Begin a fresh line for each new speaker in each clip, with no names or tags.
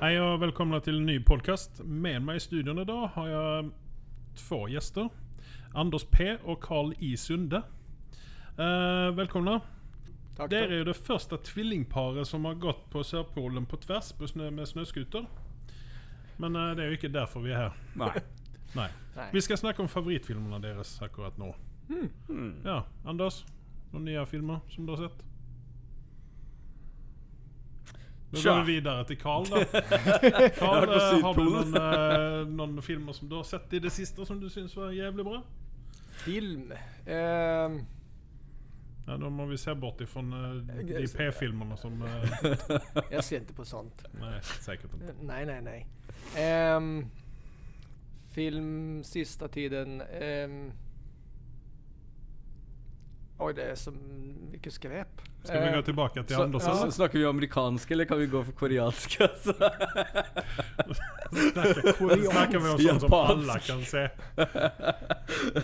Hej och välkomna till en ny podcast. Med mig i studion idag har jag två gäster. Anders P och Karl I Sunde. Eh, välkomna.
Tack.
Det är ju det första tvillingparet som har gått på Sørpolen på tvärs på snö, med snöskuter. Men eh, det är ju inte därför vi är här.
Nei.
Nej.
Nej.
Vi ska snacka om favoritfilmerna deras akkurat nu.
Hmm.
Ja, Anders? Några nya filmer som du har sett? Då
Tja.
går vi vidare till Karl då.
har
Karl,
varit på
eh, har du
Sydpolen.
någon, eh, någon filmer som du har sett i det sista som du syns var jävligt bra?
Film. Ehm,
Ja, de har vi se bort ifrån eh, de P-filmerna som... Eh,
jag ser inte på sånt.
nej, säkert inte.
Nej, nej, nej. Ehm, film sista tiden. ehm. oj, det är så mycket skräp.
Ska vi
Ehm,
gå tillbaka till
Eh, Så,
Anders?
så
eller?
snakker vi amerikansk, eller kan vi gå for koreansk? Altså?
Alltså. Snackar snackar vi om sånt som
Japansk.
alla kan se.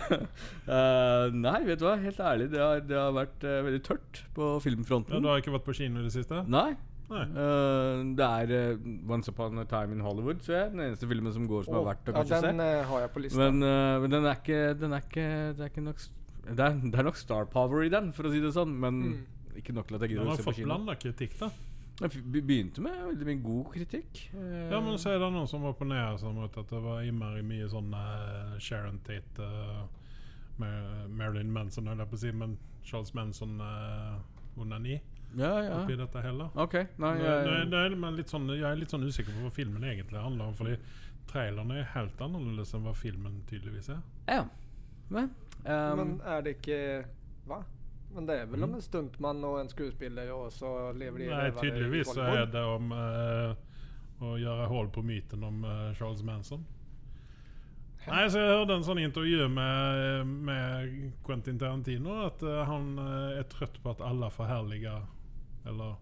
Eh, nei, vet du hva? Helt ærlig, det har, det har vært eh, veldig tørt på
Ja,
filmfronten.
du har ikke vært på kino i det siste?
Nei.
Nei.
Eh, det er eh, Once Upon a Time in Hollywood, tror jeg. Den eneste filmen som går som
åh,
er verdt å
ja,
kanskje
den
se.
eh, har jeg på listan.
Men, eh, men den er ikke Den er ikke, det er ikke nok s- det er, det er nok star power i den, for å si det sånn, men
Mm.
ikke nok til at jeg
Den
gidder
har
å se på
fått
kino.
blanda kritikk, da.
Den f- be- begynte med veldig mye god kritikk. eh,
Ja, men så er det noen som opponerer seg mot at det var innmari mye sånn eh, Sharon Tate eh, Mar Marilyn Manson, holdt jeg på å si, men Charles eh, Manson-onani
ja, ja.
oppi dette heller.
Ok,
Nå-
nei jeg-
nå er- nå er det- men litt sånn, jeg er litt sånn usikker på hva filmen egentlig handler om, fordi trailerne er helt annerledes enn hva filmen tydeligvis er.
Ja. Men, ehm,
Men er det ikke Va? Men det er
Mm.
vel om en stuntmann og en skuespiller, og så lever de
Nei,
rövare i
tydeligvis så
Hollywood.
er det om eh, å gjøre hull på myten om eh, Charles Manson. Nei, så Jeg hørte en sånn intervju med, med Quentin Tarantino. At eh, han eh, er trøtt på at alle forherliger Eller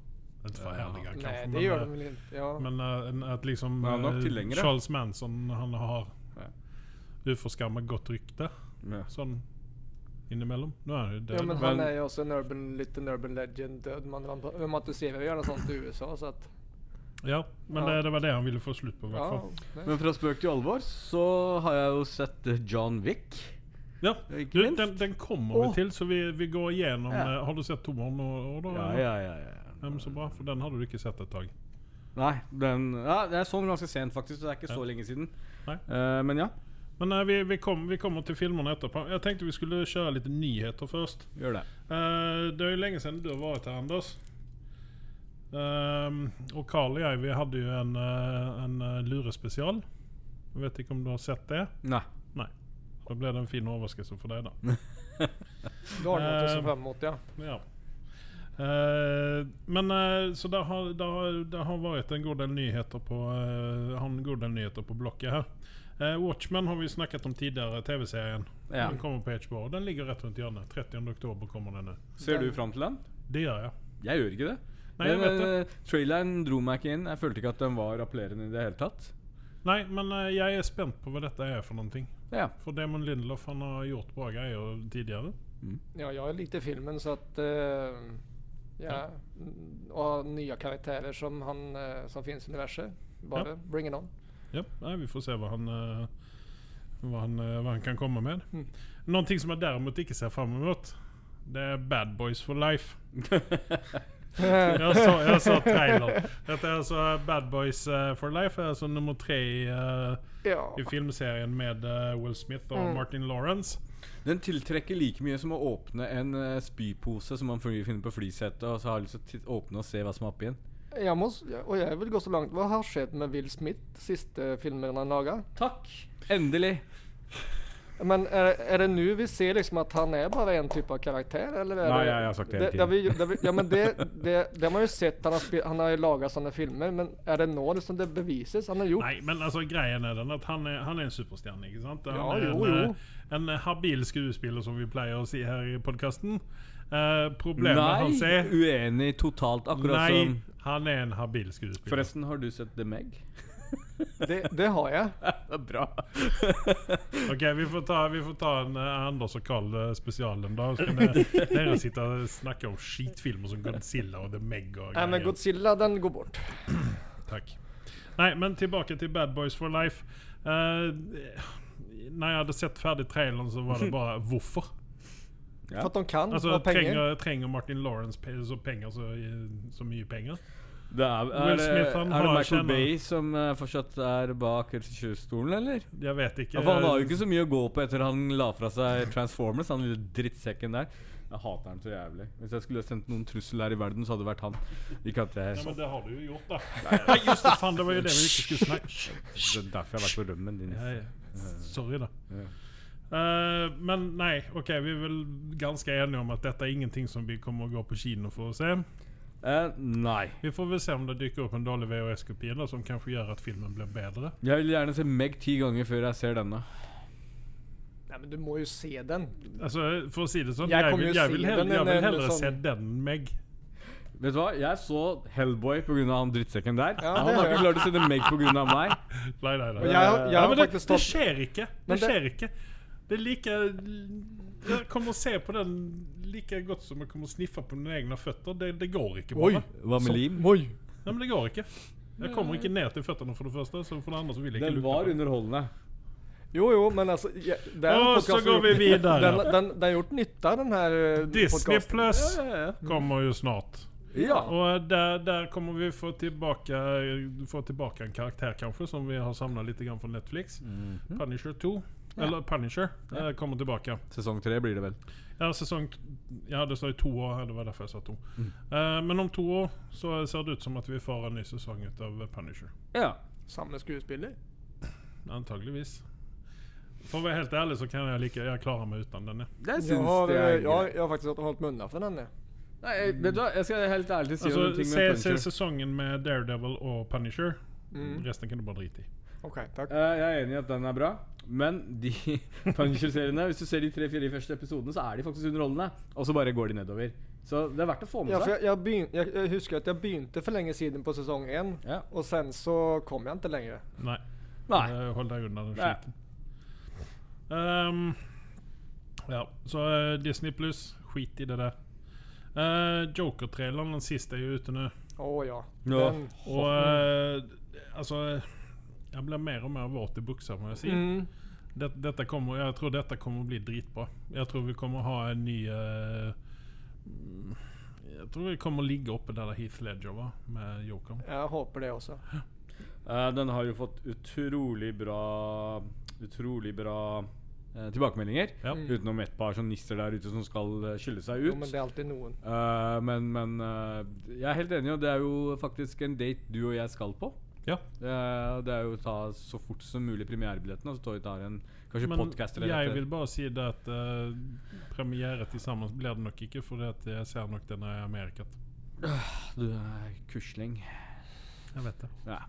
ikke forherliger, kanskje,
Nej, det
men,
gör
eh,
de väl inte. Ja.
men eh, en- at liksom
Men han er nok
eh,
tilhengere.
Charles Manson han har
Ja.
uforskammet godt rykte
ja.
sånn innimellom. Nå er han jo
Ja,
død.
men
da.
han
Men-
är ju också en urban, liten urban legend. Man man romantiserar ju gärna sånt i USA så att...
ja, men
Ja.
Det, det var det han ville få slutt på, i hvert
Ja,
fall.
nej.
men fra spøk til alvor så har jeg jo sett eh, John Wick.
Ja.
Ikke
Du,
minst.
den, den kommer vi
Åh.
til, så vi, vi går igjennom
Ja.
eh, Har du sett toeren nå? og da,
Ja,
eller?
ja, ja, ja.
Ja, men så bra, for den hadde du ikke sett et tag.
Nei, den ja, Det er sånn ganske sent, faktisk. så Det er ikke
Ja.
så lenge siden.
Nei.
Eh, men ja,
Men eh, vi, vi, kom, vi kommer til filmene etterpå. Jeg tenkte vi skulle kjøre litt nyheter først.
gjør det.
Eh, det er jo lenge siden du har vært her, Anders. Ehm, og Carl og jeg vi hadde jo en, eh, en eh, lurespesial. Jeg vet ikke om du har sett det?
Nei.
Da ble det en fin overraskelse for deg, da.
Då har du något att se
Ehm.
fram emot ja.
Ja. Eh, men eh, så det har, det, har, det har varit en god del nyheter på, eh, har en god del nyheter på blocket här. Eh, Watchmen har vi ju snackat om tidigare, tv-serien.
Ja.
Den kommer på HBO. Den ligger rätt runt hjørnet. 30 oktober kommer den nu.
Ser du fram til den?
Det gör jag.
Jeg gjør ikke det.
Nei, jeg vet det.
eh, traileren dro meg ikke inn. Jeg følte ikke at den var appellerende i det hele tatt.
Nej, men eh, jag är spänd på vad detta är för någonting.
Ja.
För Damon Lindelof han har gjort bra grejer tidigare.
Ja, jag är lite i filmen så att... ehm, ja. mm, Och nya karaktärer som, han, eh, som finns i universum. Bara bring it on.
Ja, nej, vi får se vad han, eh, vad han, eh, vad han kan komma med.
Mm.
Någonting som jag däremot inte ser fram emot. Det är Bad Boys for Life. Jag sa, jag sa trailer. Detta är alltså Bad Boys eh, for Life. är alltså nummer tre i, eh,
ja.
i filmserien med eh, Will Smith och
Mm.
Martin Lawrence.
Den tiltrekker like mye som å åpne en eh, spypose som man finner på flysetet, og så har jeg lyst til å titt- åpne og se hva som er oppi den.
Jag måste, ja, och jag vill gå så långt. Vad har skett med Will Smith sista filmen han lagade?
Takk! Endelig.
Men är, är det nu vi ser liksom att han är bara en typ av karaktär? Eller är
Nej,
det,
jag- jag har sagt det hela
det, det, har
tiden.
vi, det, har vi- ja, men det, det, det har man ju sett, han har, spe, han har ju lagat sådana filmer. Men är det nå liksom det bevisas? Han har gjort...
Nej, men alltså grejen är den att han är, han är en superstjärna, inte sant? Han
Ja,
är
jo,
en, eh,
jo.
en habil skuespiller som vi pleier å si her i podkasten. Eh, problemet hans
Nei,
er
uenig totalt, akkurat
Nei,
som
han er en habil skuespiller.
Forresten, har du sett The Meg?
Det, det har jag.
Det er bra.
Ok, vi får ta, vi får ta en eh, Anders og Carl eh, spesialen da. Så kan dere- dere sitte og snakke om skitfilmer som Godzilla og The Meg og
Nej men
greier.
Godzilla den går bort.
Takk. Nei, men tilbake til Bad Boys for Life. Eh, når jeg hadde sett ferdig traileren, så var det bare hvorfor?
Ja.
For at de kan,
Alltså,
Altså,
og penger.
trenger, trenger Martin Lawrence pe- så penger så, eh, så mye penger?
Det er, er,
Will
det-
Smith, han
er det
har
Michael
kjenne-
Bay som eh, fortsatt er bak regissørstolen, eller?
Jeg vet ikke.
Ja, for han har jo ikke så mye å gå på etter han la fra seg Transformers, han lille drittsekken der. Jeg hater han så jævlig. Hvis jeg skulle sendt noen trussel her i verden, så hadde det vært han. Ikke at
Nei,
jeg så
men det har du jo gjort, da. Nei, just det, faen, det var jo det vi ikke skulle snakke
Det er derfor jeg har vært på rømmen din.
Nei, Sorry, da.
Ja.
Eh, men nei, ok, vi er vel ganske enige om at dette er ingenting som vi kommer å gå på kino for å se.
Eh, nei.
Vi får väl se om det dyker opp en dårlig VHS-kopi da, som kanskje gjør at filmen blir bedre.
Jeg vil gjerne se Meg ti ganger før jeg ser denne.
Nei, men du må jo se den.
Altså, for å Alltså, si det sånn,
Jeg
jeg,
kommer
vil,
jo
jeg
si
vil,
den,
hell, jeg
men
vil
en
hellre
sånn-
se den enn meg.
Vet du hva? Jeg så Hellboy pga. han drittsekken der.
Ja,
han
det
har
hører
ikke klart å se Meg pga.
Nei, nei, nei.
Og
meg.
jeg, jeg
Nei, men
har
det,
faktisk
det
stått
skjer ikke. Det
Men det-
skjer ikke. Det er like Jeg kommer å se på den like godt som jeg kommer å sniffe på mine egne føtter. Det, det går ikke
Oi.
bare.
Hva med lim?
Oi!
Nei, men det går ikke. Jeg kommer ikke ned til føttene, for det første. Så for det andre så vil jeg ikke
Den
lukte.
var
på den.
underholdende.
Jo, jo, men altså jeg, det er en
Og
podcast
så
som
går
har
vi
gjort-
videre.
Den, den, den har gjort nytte, den her eh,
Disney
podcasten.
Plus
Ja, ja, ja.
kommer jo snart.
ja.
Og der, der kommer vi få tilbake, få tilbake en karakter, kanskje, som vi har savna litt grann fra
Mm.
Netflix.
Mhm.
Punisher 2. Eller Punisher eh, kommer tilbake.
Sesong tre blir det vel.
Ja, sesong t- Ja, det står i to år. her, Det var derfor jeg sa to.
Mm.
Eh, men om to år så ser det ut som at vi får en ny sesong ut av Punisher.
Ja.
Samme skuespiller.
Antageligvis. For å være helt ærlig så kan jeg like Jeg klarer meg uten den. jeg.
Jeg
Jeg
syns
har,
det
eh,
er
jeg, har-
greit.
jeg har faktisk holdt meg unna for den. jeg.
Nei, jeg- vet du hva? Jeg skal helt ærlig si noen
Altså, Alltså,
ting
se,
med
se
Punisher.
sesongen med Daredevil og Punisher.
Mm.
Resten kan du bare drite i.
OK, takk.
Eh, jeg er enig i at den er bra, men de Punisher-seriene Hvis du ser de tre-fire første episodene, så er de faktisk underholdende. Og så bare går de nedover. Så det er verdt å få med
Ja, for
seg.
jeg, jeg, begyn, jeg, jeg husker at jeg begynte for lenge siden på sesong én,
Ja.
og sen så kom jeg ikke lenger.
Nei.
Nei.
Eh, Hold deg unna den
Nei.
skiten. Ehm, ja, så eh, Disney pluss, skit i det der. Eh, Joker-traileren, den siste, er jo ute nå.
Å ja.
Ja.
Den,
Og eh, altså Jeg blir mer og mer våt i buksa, må jeg si.
mm.
Det, dette kommer, jeg tror dette kommer å bli dritbra. Jeg tror vi kommer å ha en ny eh, mm, Jeg tror vi kommer å ligge oppe der Heath Ledger var, med Jokeren.
Jeg håper det også.
Eh, den har jo fått utrolig bra Utrolig bra eh, tilbakemeldinger.
Ja.
Utenom et par som nisser der ute som skal eh, skylle seg ut.
Jo, men det er alltid noen.
Eh, men men eh, jeg er helt enig, og det er jo faktisk en date du og jeg skal på.
Ja.
Det er, det er jo å ta så fort som mulig premierebilletten, og så tar vi tar en kanskje
Men
podcast eller
jeg
dette.
vil bare si det at eh, premiere til sammen blir det nok ikke, for jeg ser nok den er i Amerika.
Du er kusling.
Jeg vet det.
Ja.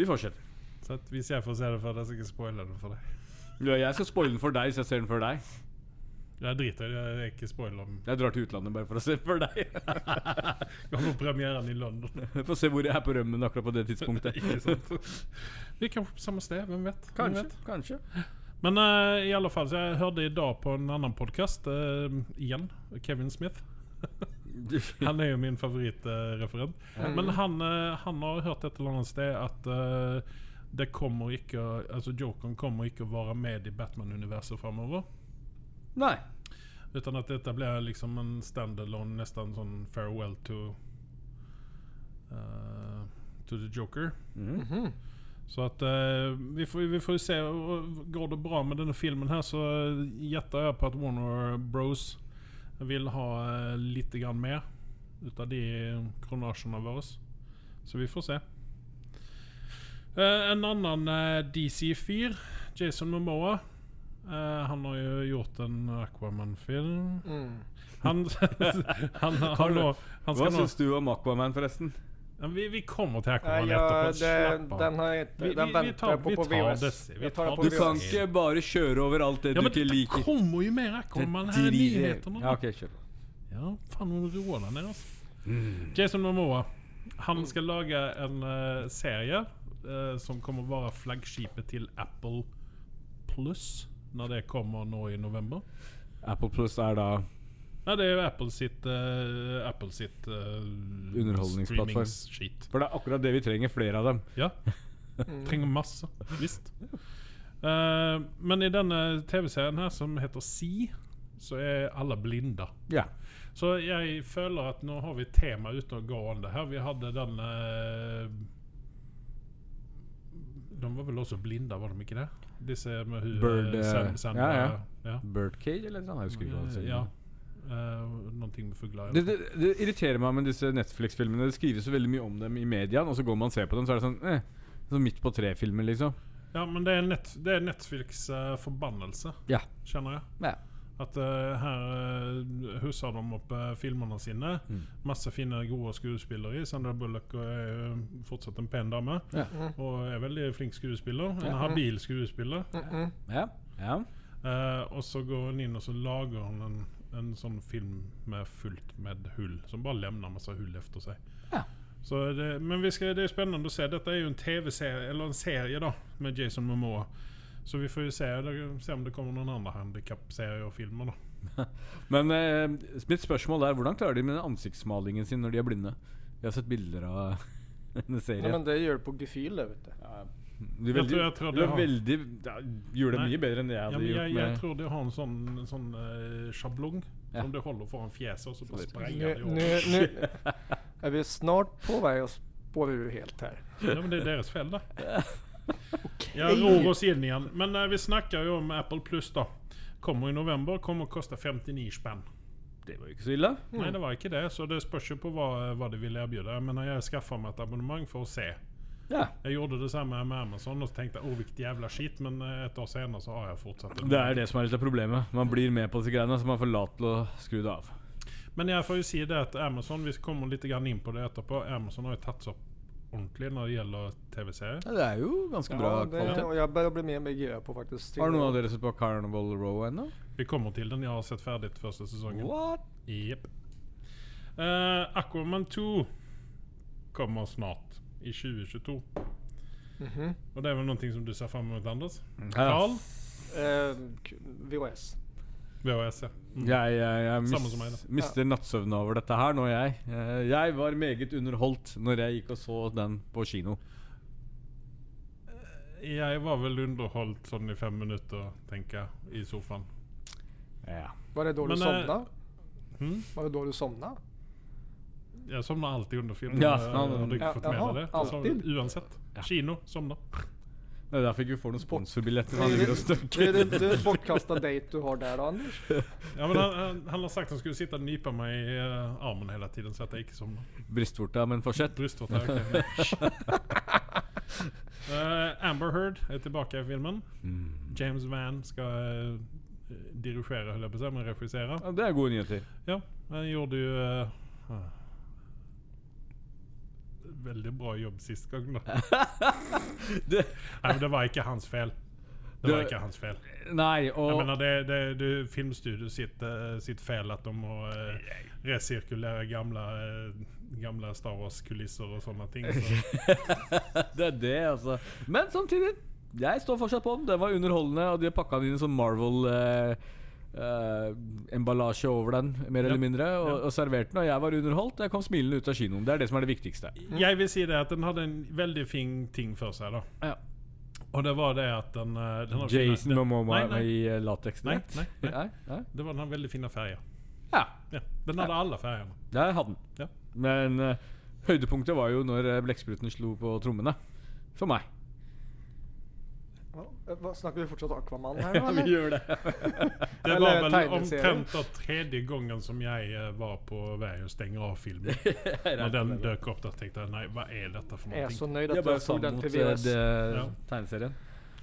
Vi fortsetter.
Så at hvis jeg får se det for deg, så skal jeg spoile det for deg.
Ja, jeg skal spoile den for deg hvis jeg ser den før deg.
Jeg driter i det, jeg er ikke spoiler den.
Jeg drar til utlandet bare for å se den for deg.
Kommer premieren i London.
Få se hvor jeg er på rømmen akkurat på det tidspunktet.
ikke sant? Vi er kanskje på samme sted, hvem vet? Hvem
Kanskje.
vet?
kanskje
Men eh, i alle fall, så jeg hørte i dag på en annen podkast, igjen, Kevin Smith. Han er jo min favorittreferent.
Ja.
Men han, eh, han har hørt et eller annet sted at eh, det kommer ikke Altså Jokeren kommer ikke å være med i Batman-universet framover.
Nei.
Utan at dette blir liksom en standalone, nesten sånn farewell to eh, To the Joker.
Mhm.
Mhm.
Så at eh, vi, får, vi får se. Og Går det bra med denne filmen her, så gjetter jeg på at Warner Bros vil ha eh, litt grann mer ut av de kronasjene våre. Så vi får se. Eh, en annen DC-fyr, Jason Momoa. eh, han har jo gjort en Aquaman-film.
Mm.
Han, han, han, nå- han
Hva
skal nå
syns du om Aquaman, forresten?
Ja, vi, vi kommer til
Nei,
Aquaman
ja,
etterpå.
det,
Slapp av.
den har jeg ikke.
Vi- vi-
Den
vi
venter
tar-
jeg på
vi
på
tar det,
VHS.
vi tar
Jeg tar det på
Du
det.
VHS.
kan ikke bare kjøre over alt det
Ja,
du
men
ikke
det
liker.
kommer ju mer Aquaman här i nyheterna.
Ja,
Ja.
ok, kjør på.
fan hon rånar ner oss.
Mm.
Jason Momoa.
Mm.
Han ska laga en eh, serie eh, som kommer vara flaggskipet till Apple Plus när det kommer nå i november.
Apple Plus er da
Ja, det er jo Apple sitt, eh, Apple sitt eh,
Underholdningsplattform.
streamings-skit.
For det er akkurat det vi trenger, flere av dem.
Ja. Trenger masse. Visst. Eh, men i denne TV-serien her, som heter Si, så er alle blinda.
Ja.
Så jeg føler at nå har vi et tema uten å gå om det her. Vi hadde den eh, De var vel også blinda, var de ikke det? Disse med hun eh,
Bird, eh,
Sand- Sandra-
ja,
ja.
Birdcage eller noe sånt? Jeg husker ikke hva han
Eh,
sier.
ja. Eh, noen ting med fugler.
Det, det, det irriterer meg med disse Netflix-filmene. Det skrives så veldig mye om dem i media, og så går man og ser på dem, så er det sånn eh, sånn midt på tre-filmer, liksom.
Ja, men det er, net, det er Netflix eh, forbannelse,
Ja.
kjenner jeg.
Ja.
At eh, her eh, husser de opp eh, filmene sine.
Mm.
Masse fine, gode skuespillere i. Sandra Bullock og er eh, fortsatt en pen dame.
Ja.
Mm.
Og er veldig flink skuespiller. En
Ja.
habil skuespiller.
Mm-mm.
Ja. ja.
Eh, og så går hun inn og så lager hun en, en sånn film med fullt med hull. Som bare lemner masse hull etter seg.
Ja.
Så det, men vi skal, det er jo spennende å se. Dette er jo en TV-serie, eller en serie, da, med Jason Momoa. Så vi får jo se, se om det kommer noen andre handikap-serier og filmer, da.
Men eh, mitt spørsmål er hvordan klarer de med den ansiktsmalingen sin når de er blinde? Vi har sett bilder av denne
Ja,
serien.
men det gjør du på gefühl, det, vet du.
Ja, du er
Jeg
veldig,
tror jeg tror
du
det
er
har-
veldig ja, Gjorde det
Nei.
mye bedre enn det jeg
Ja,
hadde
men jeg,
gjort.
jeg
Med,
tror det har en sånn, en sånn eh, sjablong
Ja.
som du holder foran fjeset, og så bare
Sånn.
sprenger det i
Nu, nu,
år.
nu är vi snart på väg att spåra ur helt här.
Ja, men det er deres feil, da. Jeg ror oss inn igjen. Men eh, vi snakker jo om Apple Pluss, da. Kommer i november. Kommer å koste 59 spenn.
det var jo ikke så ille.
Nei, det var ikke det, så det spørs jo på hva, hva de ville erbjude. Men jeg skaffa meg et abonnement for å se.
Ja.
Jeg gjorde det samme med Amazon og så tenkte jeg, oh, hvilket jævla skit, men eh, et år senere så har jeg fortsatt.
Det er det som er litt av problemet. Man blir med på disse greiene, så man får lat til å skru det av.
Men jeg får jo si det at Amazon, vi kommer litt grann inn på det etterpå, Amazon har jo tatt seg opp ordentlig når det gjelder TV-serier.
det er jo ganske
Ja, det, och jag börjar bli mer MGÖ på faktiskt.
Har noen av dere sett på Carnival Row ennå?
Vi kommer til den. Jeg har sett ferdig første sesongen.
What?
Jepp. Eh, Aquaman 2 kommer snart, i 2022.
Mhm.
Og det er vel noe som du ser fram mot, Anders?
Ja.
Carl?
Eh, k- VHS.
VHS, ja. Mm.
Jeg, jeg, jeg mis,
Samme som meg, da.
mister nattsøvnen over dette her nå, jeg. Eh, Jeg var meget underholdt når jeg gikk og så den på kino.
Jeg var vel underholdt sånn i fem minutter, tenker jeg, i sofaen.
Ja.
Var det då du
Men, eh,
somnade?
Mm?
Var det då du somnade?
Jeg sovner alltid under film.
Ja,
eh,
sånn.
har du ikke
Ja,
fått med
jaha,
deg det? Jeg sovner
alltid.
uansett.
Ja.
Kino. Sovner.
Det er derfor ikke vi får noen sponsorbilletter.
Det
Han
är
ligger og
det- det är
støkker.
det inte bortkastad dejt du har där då, Anders?
Ja, men han, han- han har sagt han skulle sitte og nype meg i eh, armen hele tiden, så at jeg ikke sovner.
Brystvorta, men fortsett.
Brystvorte. Okay. Eh, Amber Heard er tilbake i filmen. James Van skal eh, dirigere, holder jeg på å si, men regissere.
Ja, det er gode nyheter.
Ja, han gjorde ju... eh, ah, Veldig bra jobb sist gang da.
Det,
Nei, men det var ikke hans fel. Det var
Det-
ikke hans fel.
nei,
Jeg
og
mener, det, det, det er filmstudio sitt, eh, sitt fel at de må eh, resirkulere gamle, eh, gamle Star Wars-kulisser og sånne ting. Så.
Det er det, altså. Men samtidig, jeg står fortsatt på den. Den var underholdende, og de har pakka den inn i sånn Marvel-emballasje eh, over den, mer
Ja.
eller mindre, og,
Ja.
og serverte den. Og jeg var underholdt, og jeg kom smilende ut av kinoen. Det er det som er det viktigste.
Jeg vil si det at den hadde en veldig fin ting for seg da.
Ja.
Og det var det at den... eh, den har fine-
Jason Momoa
Nei, nei.
i eh, lateksdrakt.
Nei, nei,
nei. nei.
Det var den her veldig fine ferger.
Ja,
Ja, den hadde alle fergerne.
der hadde den.
Ja.
Men eh, høydepunktet var jo når eh, blekkspruten slo på trommene. For meg.
Ja, eh, vad- snackar vi fortsatt Aquaman här nu, eller?
gjør det.
Det
Eller
var vel
tegneserie.
omtrent da tredje gangen som jeg eh, var på vei å stenge av filmen. Når den dök opp, da tenkte jeg nei, hva er dette for
Jag är
noe?
så nöjd
Jeg
att
bare
jag
så
såg den
mot
till
eh,
VHS.
det,
Ja.
tegneserien.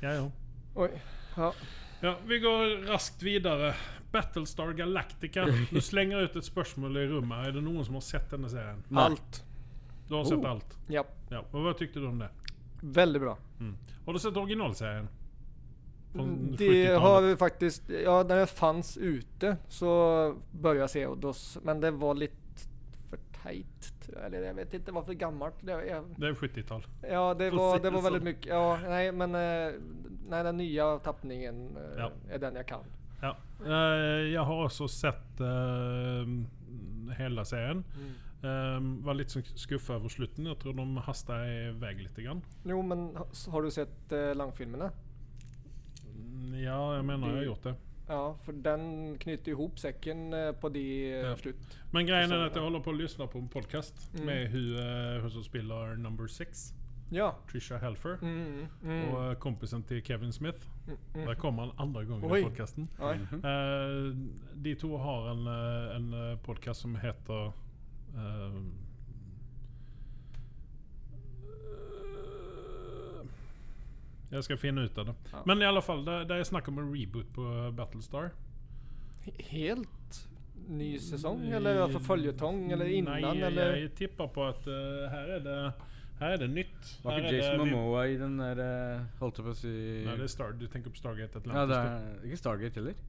Ja, ja.
Oj, ja.
ja, vi går raskt videre. Battlestar Galactica. Du slenger ut et spørsmål i rommet. Er det noen som har sett denne serien?
Nei.
Allt.
Du har sett
Oh.
alt.
Ja,
Ja. Og hva tykte du om det?
väldigt bra.
Har du sett originalserien? Från
Mm, Det
70-talet.
har vi faktiskt, ja när det fanns ute så började jag se Oddos, men det var lite för tajt. Eller jag vet inte, det var för gammalt. Det, jag,
Det er 70-tall.
ja, det
Får
var,
se
det var
det
väldigt
så.
mycket. Ja, nej, men eh, nej, den nya tappningen eh,
Ja.
är den jag kan.
Ja. Eh, jeg har også sett eh, hele serien.
Mm.
Eh, var litt sånn skuffa over slutten. Jeg tror de hasta i vei litt. Grann.
Jo, men ha- s- har du sett eh, langfilmene?
Mm, Ja, jeg mener jeg har gjort det.
Ja, for den knyter ihop säcken eh, på de eh,
Ja.
slut.
Men grejen
Så-
er at jeg holder på å lyssna på en podcast
Mm.
med hun, eh, hun som spiller number six,
Ja.
Trisha Helfer,
Mm, mm,
og eh, kompisen til Kevin Smith.
mm, mm.
Der kommer han andre gangen
Oi.
i podcasten.
Ja.
Eh, de to har en, eh, en eh, podcast som heter eh, jeg skal finne ut av det.
Ja.
Men i alle fall, det, det er snakk om en reboot på Battlestar.
He- Helt
Mm,
ny säsong eller alltså följetong eller innan
Nei,
eller?
jeg tipper på at eh, her, er det, her er det nytt.
Var
Her
ikke
er
Jason
det, vi-
Momoa i den der eh, Holdt jeg på å si
Nei, det er Star, du tenker på Stargate Atlantis?
Ja, det
du?
er ikke Stargate heller.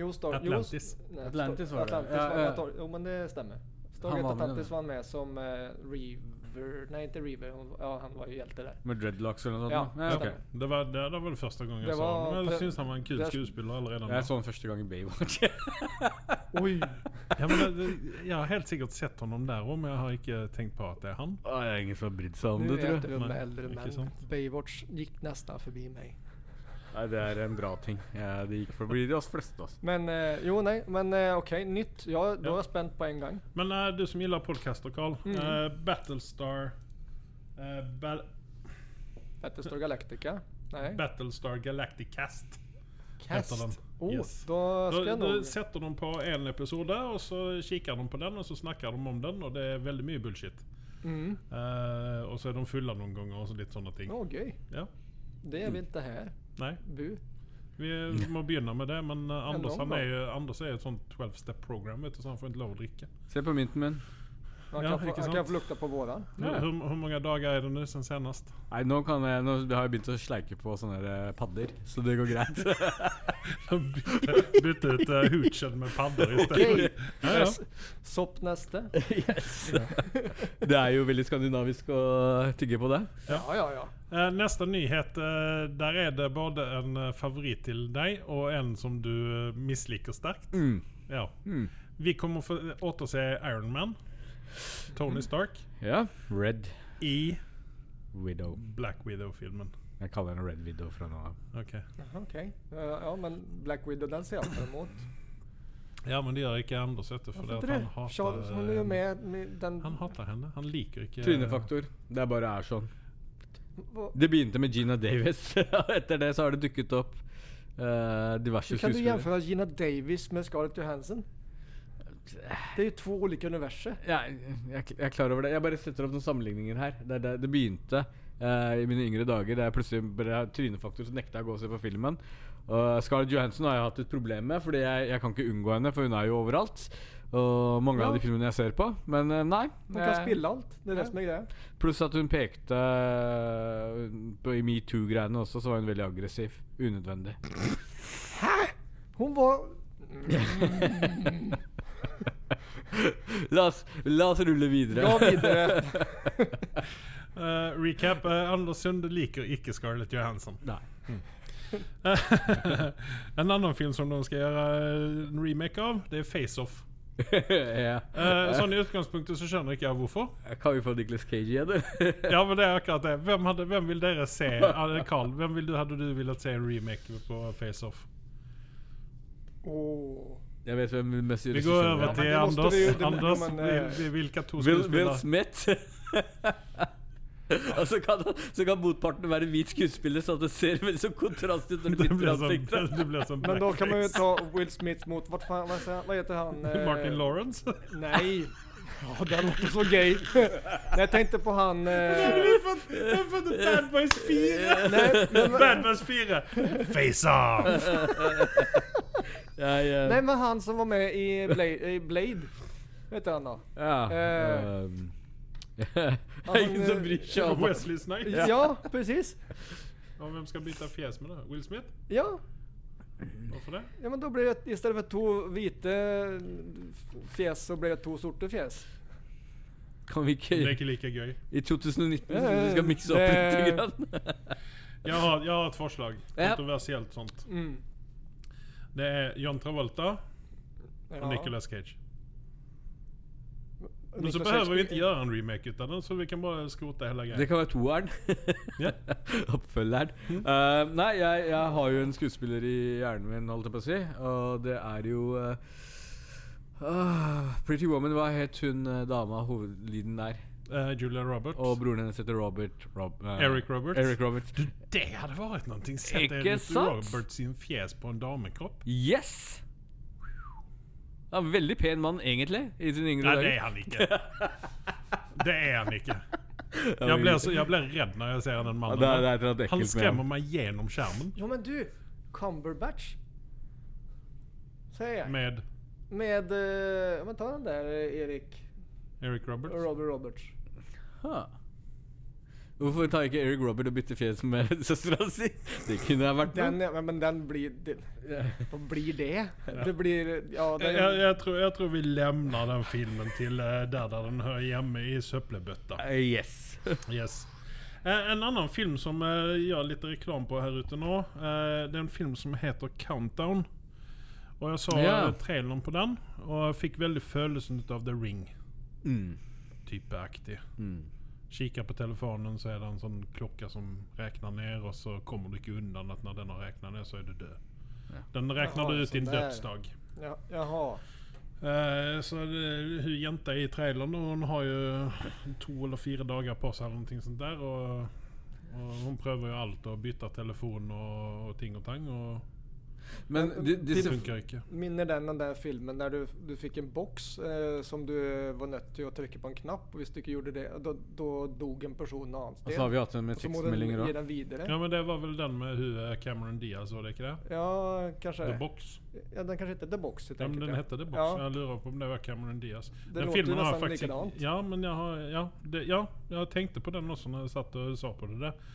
Jo, Star
Atlantis.
Jo, s- nej,
Atlantis
Star-
var det.
Atlantis
Ja,
var
ja.
Atlantis. Jo, men det stämmer.
var
Stargate
med
Atlantis
den.
var med som eh, Reaver. Nej, inte Reaver. Hon, ja, han var ju hjälte där.
Med dreadlocks eller noe
Ja,
sånt? nå?
det
ok.
stemmer.
Det var, det, det var vel første gang jeg
Det
så
var
ham. Men
pre-
Jeg syns han var en kul
det er-
skuespiller allerede
Jeg
nå.
så den første gang i Baywatch.
Oj!
Ja, men det, det, jeg har helt sikkert sett ham der òg, men jeg har ikke tenkt på at det er han.
Å, jeg er ingen som har brydd seg
Nu
tror jeg.
äter vi med
Nej,
äldre
mycket
män.
sånt.
Baywatch gick nästan förbi mig.
Nei, det er en bra ting. Ja, det gikk forbi de oss fleste. Altså.
Men eh, jo, nej, men eh, okej, nytt. Ja, då
Ja.
är jag spänd på en gång.
Men eh, du som gillar podcaster Carl.
Mm.
eh, Battlestar eh, ba
Battlestar Galactica. Nej.
Battlestar Galacticast.
Cast.
heter den.
Oh,
Yes.
då ska
Da,
jag
da
nog...
setter de på en episode, og så kikker de på den, og så snakker de om den, og det er veldig mye bullshit.
Mm.
Eh, og så er de fulle noen ganger og så litt sånne ting.
Åh, gøy.
Ja.
Det är vi inte här.
Nei,
Bu.
vi må begynne med det, men eh, Anders
de
han
bra?
er jo Anders er jo et sånt 12-step-program, vet du, så han får ikke lov å drikke.
Se på mynten min.
Han
Ja,
kan,
icke
få, han
sant?
kan få lukta på våran.
Ja.
Hvor, hvor mange dager er det nå siden senest?
Nei, nå, kan jeg, nå har jeg begynt å sleike på sånne der, eh, padder, så det går greit.
bytte, bytte ut uh, hoochen med padder i stedet.
Okej.
Ja, ja.
Sopp nästa.
Det er jo veldig skandinavisk å tygge på det.
Ja, ja, ja.
Eh, Neste nyhet. eh, Der er det både en eh, favoritt til deg og en som du eh, misliker sterkt.
Mm.
Ja.
Mm.
Vi kommer få återse Iron Man, Tony Stark,
Ja. Red
i
Widow.
Black Widow-filmen.
Jeg kaller henne Red Widow fra nå av.
Ok.
Jaha, Okej. Eh, Ja, men Black Widow den ser jag fram emot.
Ja, men det gjør ikke Anders, vet du. For det at han
Varför inte
eh,
det?
hater,
Charles, hon är ju med, med den...
han hater henne. Han liker ikke
Trynefaktor. Det er bare er sånn.
Vad-
Det begynte med Gina Davis. Etter det så har det dukket opp eh, diverse
Hur kan du
skuespillere.
jämföra Gina Davis med Scarlett Johansson? Det är ju två olika universer.
Ja, jeg, jeg er klar over det. Jeg bare setter opp noen sammenligninger her. Det, er der det begynte eh, i mine yngre dager. Det er plutselig bare trynefaktor, så nekta jeg å gå og se på filmen. Og Scarlett Johansson har jeg hatt et problem med, Fordi jeg, jeg kan ikke unngå henne, for hun er jo overalt. Og mange
Ja.
av de filmene jeg ser på. Men eh, nei.
Hon
eh,
kan spilla allt. Det är det
Ja.
som är grejen.
Pluss at hun pekte eh, på, I metoo-greiene også, så var hun veldig aggressiv. Unødvendig.
Hon var...
La oss, la oss rulle videre.
Ja, vidare.
Eh, recap. eh, Anders Sunde liker ikke Scarlett Johansson.
Nei.
en annen film som de skal gjøre eh, en remake av, det er Face Off.
ja.
Eh, sånn I utgangspunktet så skjønner ikke jeg hvorfor.
Kan vi få Nicholas Cage igjen, eller?
Ja, men det er akkurat det. Hvem, hadde, hvem vil dere se Ja, det er Carl, hvem vil du, hadde du villet se en remake på Face Off?
Åh.
Jeg vet hvem mest
Vi går over
men
til
det måste
Anders.
vi ju- det-
Anders,
men,
vi,
eh,
vi, hvilke to
Will, Will
skuespillere?
Smith. Og så kan, så kan motparten være hvit skuespiller, så det ser veldig så kontrast ut når du
Det
bytter
blir som,
ansikt.
det blir som
Men då kan man ju
blackface.
ta Will Smith mot, vart fan, vad, säger- vad heter han? Eh,
Martin Lawrence?
Nej. Ja, det låter så gay. Nej, jag tänkte på han... Eh,
Jeg fant Bad Boys 4!
nej, men,
Bad Boys 4! Face Off!
Jeg, eh,
nej, men han som var med i Blade. I Blade. Vad heter han då?
ja,
eh,
ehm, Det er ingen som bryr seg om det.
Wesley Snipes.
Ja, precis.
Og hvem skal bytte fjes med det? Will Smith?
Ja. Mm.
Hvorfor det?
ja, men då blir det istället för två vita fjäs så blir det två sorta fjäs.
Kan vi
Det er
ikke
ikke like gøy.
I 2019 så
Eh,
vi skal mikse opp litt.
det-
Grann.
Jeg har, jeg har et forslag.
Ja.
Kontroversielt sånt.
Mm.
Det er John Travolta
Ja.
og Nicolas Cage. Men
Nicolas
så
Cage-
behöver vi inte göra en remake utan den, så vi kan bara skrota hela
Det
grejen.
kan være toeren.
Ja. Mm.
Oppfølgeren. Eh, nei, jeg, jeg har jo en skuespiller i hjernen min, holdt jeg på å si. Og det er jo eh, ah, Pretty Woman. Hva het hun eh, dama hovedlyden der?
Eh, Julia Roberts.
Og broren hennes heter Robert Rob, eh,
Eric Roberts.
Eric Roberts.
Det hade varit någonting. Sätt
Ikke
Eric
sant?
Roberts sin fjäs på en damekropp.
Yes! Ja, en veldig pen mann, egentlig, i sine yngre
Nej, det är
dager.
han icke. Det är han icke. Jag blir, så, jag blir rädd när jag ser den mannen.
Ja, det är- det är ett rätt äckligt
han
med
skrämmer
han.
mig genom skärmen.
Ja men du! Cumberbatch. Säger jag. Med,
Med
eh, ja, men ta den där eh, Erik.
Eric Roberts.
Robert Roberts.
Ha. Hvorfor tar ikke Eric Robert og bytter fjes med søstera si? Det kunne ha vært
Mm.
Den, ja, men den blir det, Vad blir det? Det blir eh, Ja, det,
Jag, jag, jag, tror, jag tror vi lämnar den filmen till eh, där, där den hör hemma i söppelbötta.
Eh, Yes.
Yes. Eh, en annan film som eh, jag lite reklam på här ute nu. Eh, det är en film som heter Countdown. Och jag såg
Ja.
eh, trailern på den och jag fick väldigt födelsen av The Ring.
Mm.
Typ aktig.
Mm.
Kika på telefonen så är det en sån klocka som räknar ner och så kommer du inte undan att när den har räknat ner så är du död. Den räknar
Jaha,
du ut din
sån där.
dödsdag.
ja, jaha.
Eh, Så det, hun jenta i traileren da, Hun har jo to eller fire dager på seg, eller noe sånt der. Og, og hun prøver jo alt, og bytter telefon og, og ting og tang. Og
Men de,
det
disse
funker ikke.
Minner den den där filmen där du, du fick en box eh, som du var nött till att trycka på en knapp och visst du inte gjorde det då, då dog en person av hans
Og så har
del.
vi hatt en med
Och så må den
tekstmeldinger
ge
òg.
den vidare.
Ja, men det var vel den med hun eh, Cameron Diaz, var det ikke det?
Ja, kanske.
The Box.
ja, den kanske heter The Box helt
Ja, men
enkelt,
den hette The Box.
Ja.
Jeg lurer på om det var Cameron Diaz.
låter jo nesten likadant.
Ja, men jeg har ja, det, ja, jeg tenkte på den også når jeg satt og så på det. der.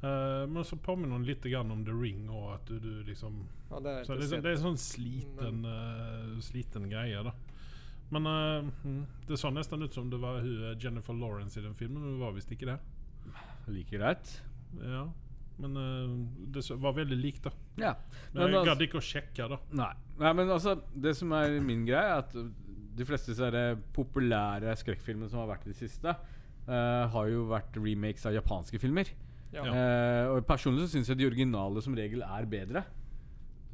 Eh, men så påminner den litt grann om The Ring, og at du, du liksom
Ja, det har jag
Så
inte
det,
sett. Mm.
det er sånn sliten eh, Sliten greie, da. Men eh, mm, det så nesten ut som det var hun eh, Jennifer Lawrence i den filmen, men hun var visst ikke det.
Like greit.
Ja. Men eh, det så, var veldig likt, da.
Ja.
Men
Men
alltså-
jeg
altså,
gadd ikke å sjekke, da.
nei. nei, men altså Det som er min greie, er at de fleste sånne populære skrekkfilmer som har vært i det siste, eh, har jo vært remakes av japanske filmer.
Ja.
Ja.
Eh, og personlig så syns jeg de originale som regel er bedre.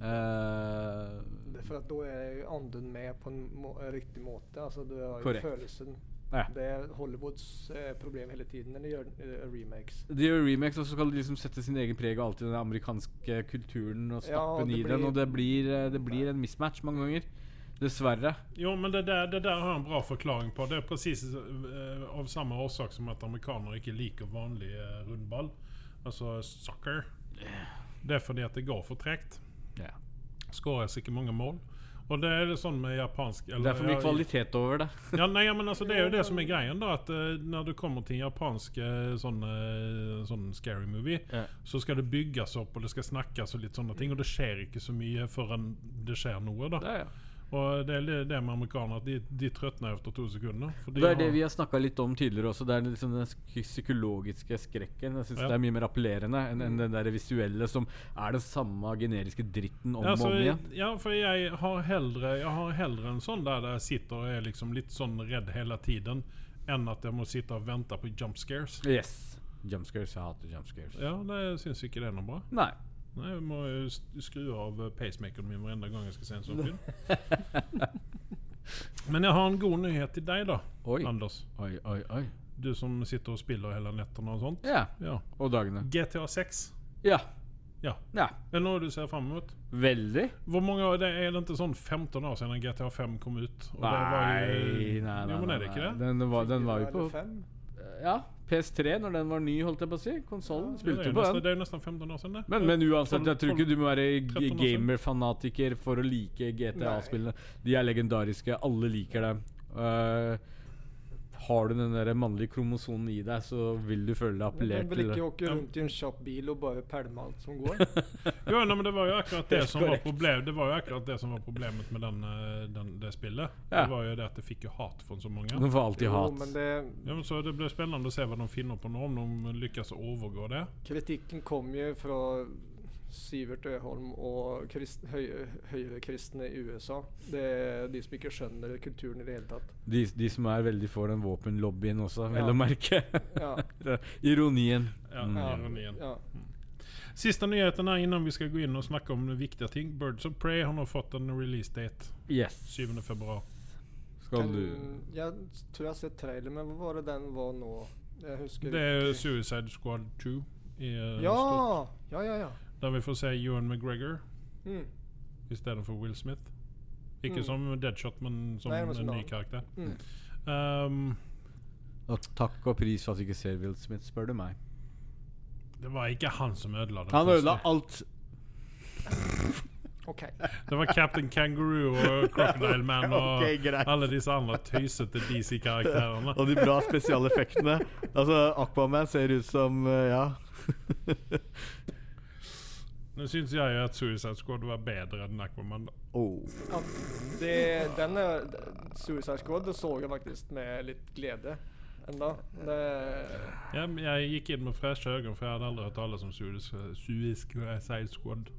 Eh,
Det är För att då är ju anden med på en, må, en riktig måte. Alltså du har ju
Korrekt.
födelsen.
ja.
Det är Hollywoods eh, problem hela tiden när de gör eh, remakes.
De gjør remakes, og så skal de liksom sette sin egen preg av alltid den amerikanske kulturen og
Ja,
stappe den
det
i den,
blir-
og det blir, eh, det blir en mismatch mange ganger. Dessverre.
Jo, men det der, det der har jeg en bra forklaring på. Det er presis eh, av samme årsak som at amerikanere ikke liker vanlig eh, rundball. Altså soccer. Det er fordi at det går for tregt.
Ja.
Skåres ikke mange mål. Og det er det sånn med japansk eller-
Det er for mye
ja,
kvalitet over det.
Ja, nei, ja, men altså, Det er jo det som er greien. da At eh, Når du kommer til en japansk eh, sånn, eh, sånn scary movie,
Ja.
så skal det bygges opp og det skal snakkes, og litt sånne ting Og det skjer ikke så mye før det skjer noe. da
Det er, ja.
Og Det er det med amerikanere. at De, de trøtner etter to sekunder. For de
det er det
har-
vi har snakka litt om tidligere også. Det er liksom den sk- psykologiske skrekken. Jeg synes
Ja.
Det er mye mer appellerende enn enn den der visuelle som er den samme generiske dritten om
ja,
og
så,
om igjen.
ja, for jeg har heldre Jeg har heldre en sånn der jeg sitter og er liksom litt sånn redd hele tiden, enn at jeg må sitte og vente på jump scares.
Yes. Jumpscares. Jeg hater jumpscares.
Ja, det syns ikke det er noe bra.
Nei.
Nei, jeg må jo st- skru av eh, pacemakeren min hver eneste gang jeg skal se en sånn film. Men jeg har en god nyhet til deg, da,
Oi.
Anders.
Oi, oi, oi.
Du som sitter og spiller hele nettene og sånt.
Ja.
Ja.
Og dagene.
GTA 6
Ja.
Ja.
ja.
er noe du ser fram mot.
Veldig.
Hvor mange år, det Er det ikke sånn 15 år siden GTA 5 kom ut? Og det var jo-
Nei, nei, nei.
Jo, men er det
nei.
ikke det?
Den var, den
Fyra
var jo
eller
på
fem.
Ja, PS3 når den var ny, holdt jeg på å si. Konsollen
Ja,
spilte
det, er
på
nesten,
den.
det er jo nesten 15 år siden, det.
Men, men uansett, jeg tror
Tolv-
ikke du må være
tolv-
g-
tretten år siden.
gamer-fanatiker for å like GTA-spillene. De er legendariske. Alle liker dem. Eh, har du den der mannlige kromosonen i deg, så vil du føle deg
Den
appellert
vill
til.
inte
det.
åka runt i en kjapp bil och bara pælma allt som går.
Jo, nei, men det var jo akkurat det
Helt
som var
korrekt.
problem, Det var jo akkurat det som var problemet med den, eh, den, det spillet.
Ja. Mm.
Det var jo det at det fikk jo hat fra så mange.
Den får alltid
Jo,
hat.
men det,
Ja, men så Det blir spennende å se hva de finner på nå, om de lykkes å overgå det.
kritikken kom ju från Sivert Øholm og krist, høy, høyrekristne i USA. Det er de som ikke skjønner kulturen i det hele tatt.
De, de som er veldig for den våpenlobbyen også,
Ja.
vel å merke.
Ja,
Ironien.
Ja,
Mm.
Ja.
ironien.
ja.
Sista nyheten her innan vi skal gå inn og snakke om viktige ting. Birds of Prey har nå fått en release date.
Yes.
7. februar.
Skal du
Den- Jeg tror jeg har sett trailer, men hva var det den var nå? Eh, Jeg husker
Det er
ikke.
Suicide Squad 2 i eh, stort.
Ja! Ja, ja, ja.
Der vi får se Ewan McGregor
Mm.
istedenfor Will Smith. Ikke
Mm.
som Deadshot, men som
Nei, men
en
som
ny
annen.
karakter.
Mm.
Ehm,
Og takk og pris for at du ikke ser Will Smith, spør du meg.
det var ikke han som ødela den
Han
første.
ødela alt.
OK.
Det var Captain Kangaroo og Crocodile Man og
Ok, greit.
alle disse andre tøysete DC-karakterene.
Og de bra spesialeffektene. Altså, Aquaman ser ut som eh, Ja.
Nå syns jeg jo at Suicide Squad var bedre enn Aquaman. da.
Oh.
Ja, det, den er, Suicide Squad det så jeg faktisk med litt glede enda. Det,
Jeg, jeg gikk inn med freshe øyne, for jeg hadde aldri hørt tale om Suicide Suicide Squad.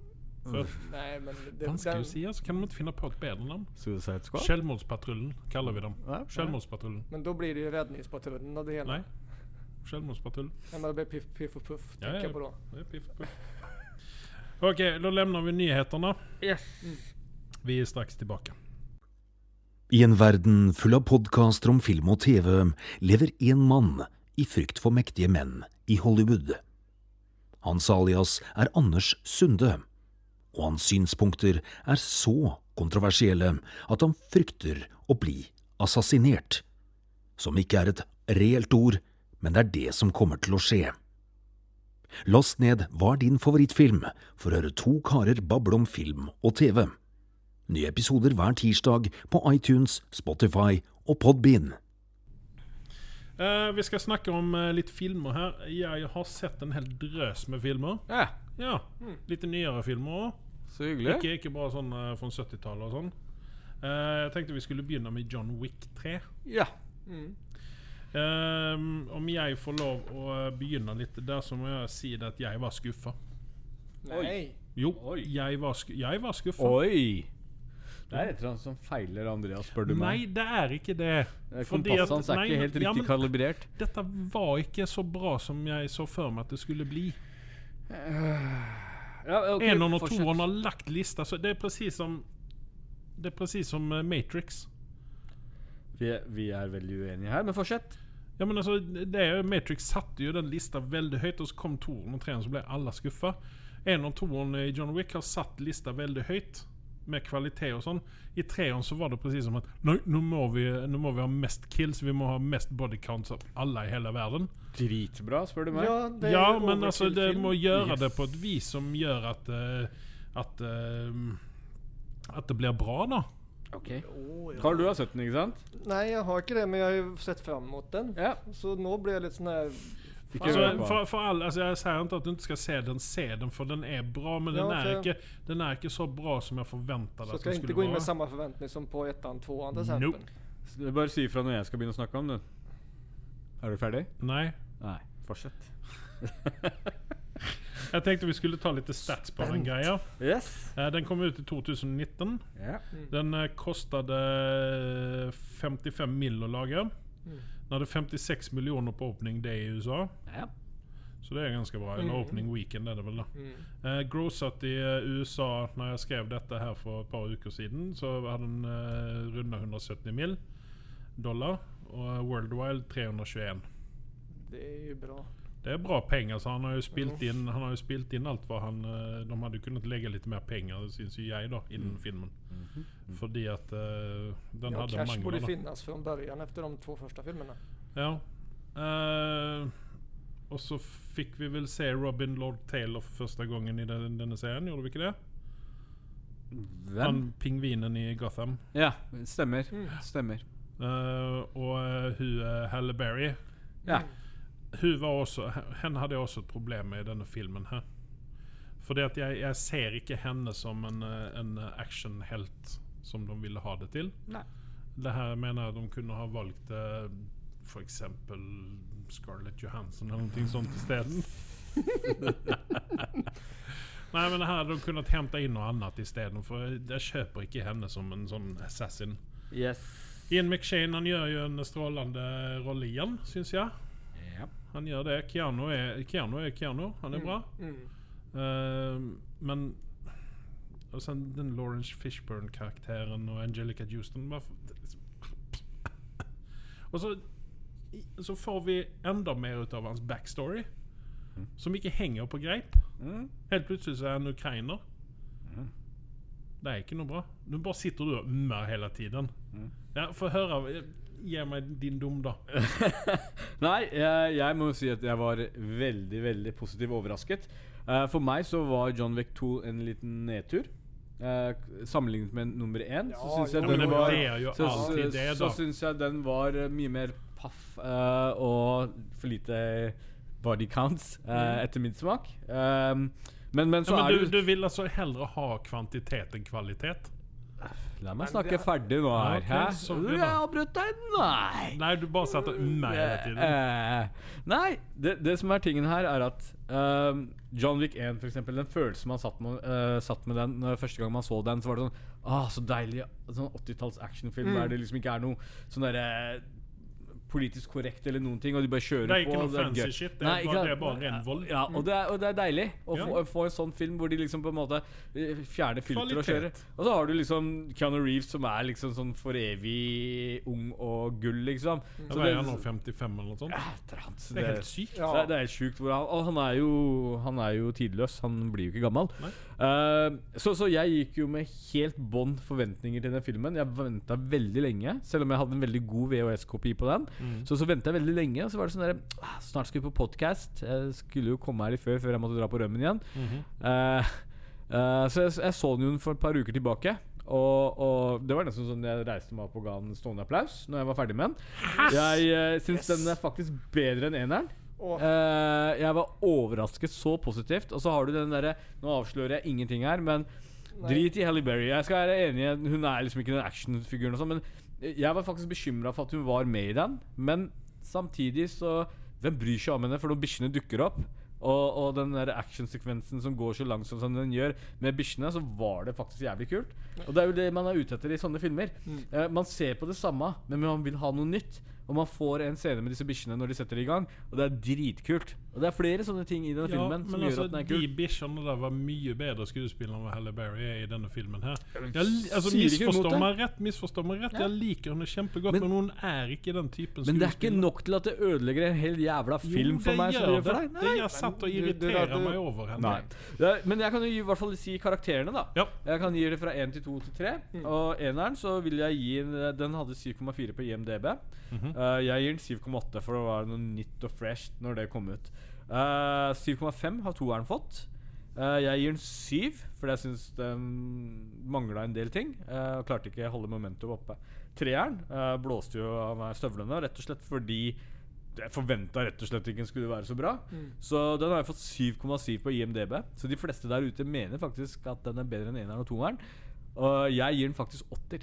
før.
nei, men det,
Vanskelig å si, altså. Kan de ikke finne på et bedre navn?
Suicide Squad?
Selvmordspatruljen kaller vi dem.
Nei, nei.
Selvmordspatruljen.
men da blir det jo Redningspatruljen av det hele.
Nei. Selvmordspatruljen.
Nei, men det blir Piff Piff og Puff,
Ja, ja.
tenker jeg på da.
Det er piff, puff. OK, da lämnar vi nyhetene. Vi er straks tilbake.
I en verden full av podkaster om film og TV lever én mann i frykt for mektige menn i Hollywood. Hans alias er Anders Sunde, og hans synspunkter er så kontroversielle at han frykter å bli assassinert. Som ikke er et reelt ord, men det er det som kommer til å skje. Last ned Hva er din favorittfilm? for å høre to karer bable om film og TV. Nye episoder hver tirsdag på iTunes, Spotify og Podbean.
Eh, vi skal snakke om eh, litt filmer her. Jeg har sett en hel drøs med filmer.
Ja,
Ja, Litt nyere filmer òg.
så hyggelig.
Ikke, ikke bare sånn eh, fra 70-tallet og sånn. Eh, jeg tenkte vi skulle begynne med John Wick 3.
Ja.
Eh, om jeg får lov å eh, begynne litt der, så må jeg si det at jeg var skuffa.
Nei.
Jo, jeg var, sku jeg var skuffa.
Oi! Det er et eller annet som feiler Andreas, spør du
Nei,
meg.
det er ikke det.
Eh,
Fordi
Kompasset
at-
hans er
nei,
ikke helt
ja,
riktig
men-
kalibrert.
Dette var ikke så bra som jeg så for meg at det skulle bli.
Ja, ok,
Eneren og
fortsett.
toeren har lagt lista, så det er presis som Det er presis som eh, Matrix.
Vi er, vi er veldig uenige her, men fortsett.
Ja, men altså, det er, jo- Matrix satte jo den lista veldig høyt, og så kom toeren og treeren, så ble alle skuffa. Eneren og toeren i eh, John Wick har satt lista veldig høyt, med kvalitet og sånn. I treeren så var det presis som at Nei, nå må, vi, nå må vi ha mest kills, vi må ha mest body counts av alle i hele verden.
Dritbra, spør du meg.
Ja, alltså, det er
ja,
jo
men
overkill
altså, det
film.
må gjøre
Yes.
det på et vis som gjør at eh, At, eh, at det blir bra, da.
Ok.
Å, ja.
Carl, du har sett den, ikke sant?
Nei, jeg har ikke det, men jeg har jo sett fram mot den.
Ja.
Så nå blir jeg litt sånn her Faen.
Ikke
Altså,
hør på han.
for, for alle, altså, jeg sier ikke at du ikke skal se den, se den, for den er bra, men den,
Ja,
er
for-
ikke, den er ikke så bra som jeg forventa
Så
at
skal
den
jeg ikke
skulle
gå inn
være.
med samme forventning som på ettan, tvåan, til
Nope.
eksempel.
Så det er Bare si ifra når jeg skal begynne å snakke om den. Er du ferdig?
Nei.
Nei. Fortsett.
Jeg tenkte vi skulle ta litt stats på den greia.
Yes.
Eh, Den kom ut i 2019.
Ja.
Den eh, kostet eh, 55 mill. å lage. Den hadde 56 millioner på opening day i USA,
ja.
så det er ganske bra. Eller opening weekend, er det vel, da.
Mm.
Eh, Grossat i eh, USA Når jeg skrev dette her for et par uker siden, så hadde den eh, runda 170 mill. dollar. Og eh, Worldwide 321.
Det er jo bra.
Det er bra penger, så han har jo spilt
Mm.
inn, han har jo spilt inn alt hva han eh, De hadde jo kunnet legge litt mer penger, syns jo jeg, da, innen filmen. Fordi at eh, den
Mm. Mm-hmm. Ja,
hadde
cash borde
mangler. da.
finnas från början efter de två första filmerna.
Ja. Eh, og så fikk vi vel se Robin Lord Taylor for første gangen i den, denne serien, gjorde vi ikke det?
Hvem?
Han pingvinen i Gotham.
Ja, stemmer. Stemmer.
Eh, og eh, hun eh, Halle Berry
Ja.
Hun var også Henne hadde jeg også et problem med i denne filmen her. Fordi at jeg, jeg ser ikke henne som en, eh, en actionhelt som de ville ha det til.
Nei.
Det her mener jeg de kunne ha valgt eh, for eksempel Scarlett Johansson eller noe sånt isteden. Nej men här hade de kunnat hämta in något annat istället. För jag köper inte henne som en sån assassin.
Yes.
Ian McShane han gör ju en strålande roll igen, syns jag.
Ja.
Han gör det. Keanu är Keanu. Är Keanu. Han är bra.
Mm.
Ehm, men... Och sen den Lawrence Fishburne-karaktären och Angelica Houston. varför- Och så, så får vi ändå mer utav hans backstory. Som mycket hänger på grejp.
Mm.
Helt plötsligt så är han ukrainer. Det är inte något bra. Nu bara sitter du och ömmar hela tiden.
Mm.
Ja, Få höra. Ge mig din dom då.
Nei, jeg, jeg må jo si at jeg var veldig, veldig positivt overrasket. Eh, for meg så var John Wick 2 en liten nedtur. Eh, sammenlignet med nummer 1 så
Ja,
syns
ja,
jeg
men
den
det
var
er jo
Så,
alltid
så,
det,
så
da.
syns jeg den var eh, mye mer paff eh, og for lite eh, body counts, eh, etter min smak. Eh, men, men
Mm.
så
ja, men
er
du,
det
du vill alltså hellre ha kvantitet än kvalitet?
La meg
Men
snakke
det-
ferdig nå her.
ok,
Hæ?
sorry da.
Du, jeg avbrøt deg? Nei!
Nej, du bara satt och mm hela tiden.
Eh, nei, det, det som er tingen her, er at ehm, John Wick 1, for eksempel, den følelsen man satt med, eh, satt med den eh, første gang man så den, så var det sånn ah, Så deilig. Sånn 80-talls actionfilm der det liksom ikke er noe sånn derre politisk korrekt eller noen ting, og de bare kjører
Det er ikke
på.
noe
og det er
fancy
gøy.
shit, det er
Nei,
bare-
ikke
det er
sant?
bare ren vold.
Ja, og det er, og det er deilig å
Ja.
få, få en sånn film hvor de liksom på en måte eh, fjerner filter og kjører.
Kvalitet.
Og så har du liksom Keanu Reeves som er liksom sånn for evig ung og gull, liksom. Så
Vad är han då, 55 eller något sånt?
et eller annet.
Det är helt sykt.
Ja.
Det, er- det er helt sjukt. Hvor han, og han er, jo, han er jo tidløs. Han blir jo ikke gammel.
Nei.
Eh, så, så jeg gikk jo med helt bånd forventninger til den filmen. Jeg venta veldig lenge, selv om jeg hadde en veldig god VHS-kopi på den.
Mm.
Så så venta jeg veldig lenge, og så var det sånn der ah, Snart skal vi på podkast. Jeg skulle jo komme her litt før, før jeg måtte dra på rømmen igjen.
Mhm.
Eh, eh, så jeg, jeg så den jo for et par uker tilbake. Og, og det var nesten sånn jeg reiste meg opp og ga den stående applaus når jeg var ferdig med den. Jeg uh, syns
Yes.
den er faktisk bedre enn eneren.
Åh.
Eh, jeg var overrasket så positivt. Og så har du den derre Nå avslører jeg ingenting her, men drit i Halle Berry. Jeg skal være enig i at Hun er liksom ikke den actionfiguren og sånn, men jeg var faktisk bekymra for at hun var med i den. Men samtidig så Hvem bryr seg om henne, for når bikkjene dukker opp og, og den der actionsekvensen som går så langsomt som den gjør med bikkjene, så var det faktisk jævlig kult. Og det er jo det man er ute etter i sånne filmer. Eh, man ser på det samme, men man vil ha noe nytt. Og man får en scene med disse bikkjene når de setter det i gang, og det er dritkult. Og det er flere sånne ting i den
Ja,
filmen som
men
gjør
alltså
at den er
de
kul.
bischarna där var mycket bättre skuespelare än vad Halle Berry är i denna filmen här. Jag,
Sier
alltså
ikke imot
missförstå
det.
mig rätt, missförstå mig rätt.
Ja.
Jag liker henne kämpegott men,
Men-
men hon är inte den typen
Men det er ikke nok til at det ødelegger en hel jævla film
jo,
for meg.
det gör
som det gjør for
det.
deg.
det jag satt och
du- du
irriterade
hade-
mig över henne.
Nei. Det er- Men jeg kan jo gi- i hvert fall si karakterene, da.
Ja.
Jeg kan gi det fra én til to til tre. Og eneren så vil jeg gi en- Den hadde 7,4 på IMDb.
Mhm.
Eh, jeg gir den 7,8, for det var noe nytt og fresh når det kom ut. Eh, 7,5 har toeren fått. Eh, jeg gir den 7, for jeg syns den mangla en del ting. Uh, klarte ikke å holde momentum oppe. Treeren eh, blåste jo av meg støvlene, rett og slett fordi jeg forventa rett og slett ikke den skulle være så bra. Så den har jeg fått 7,7 på IMDb. Så de fleste der ute mener faktisk at den er bedre enn eneren og toeren. Og jeg gir den faktisk åtter.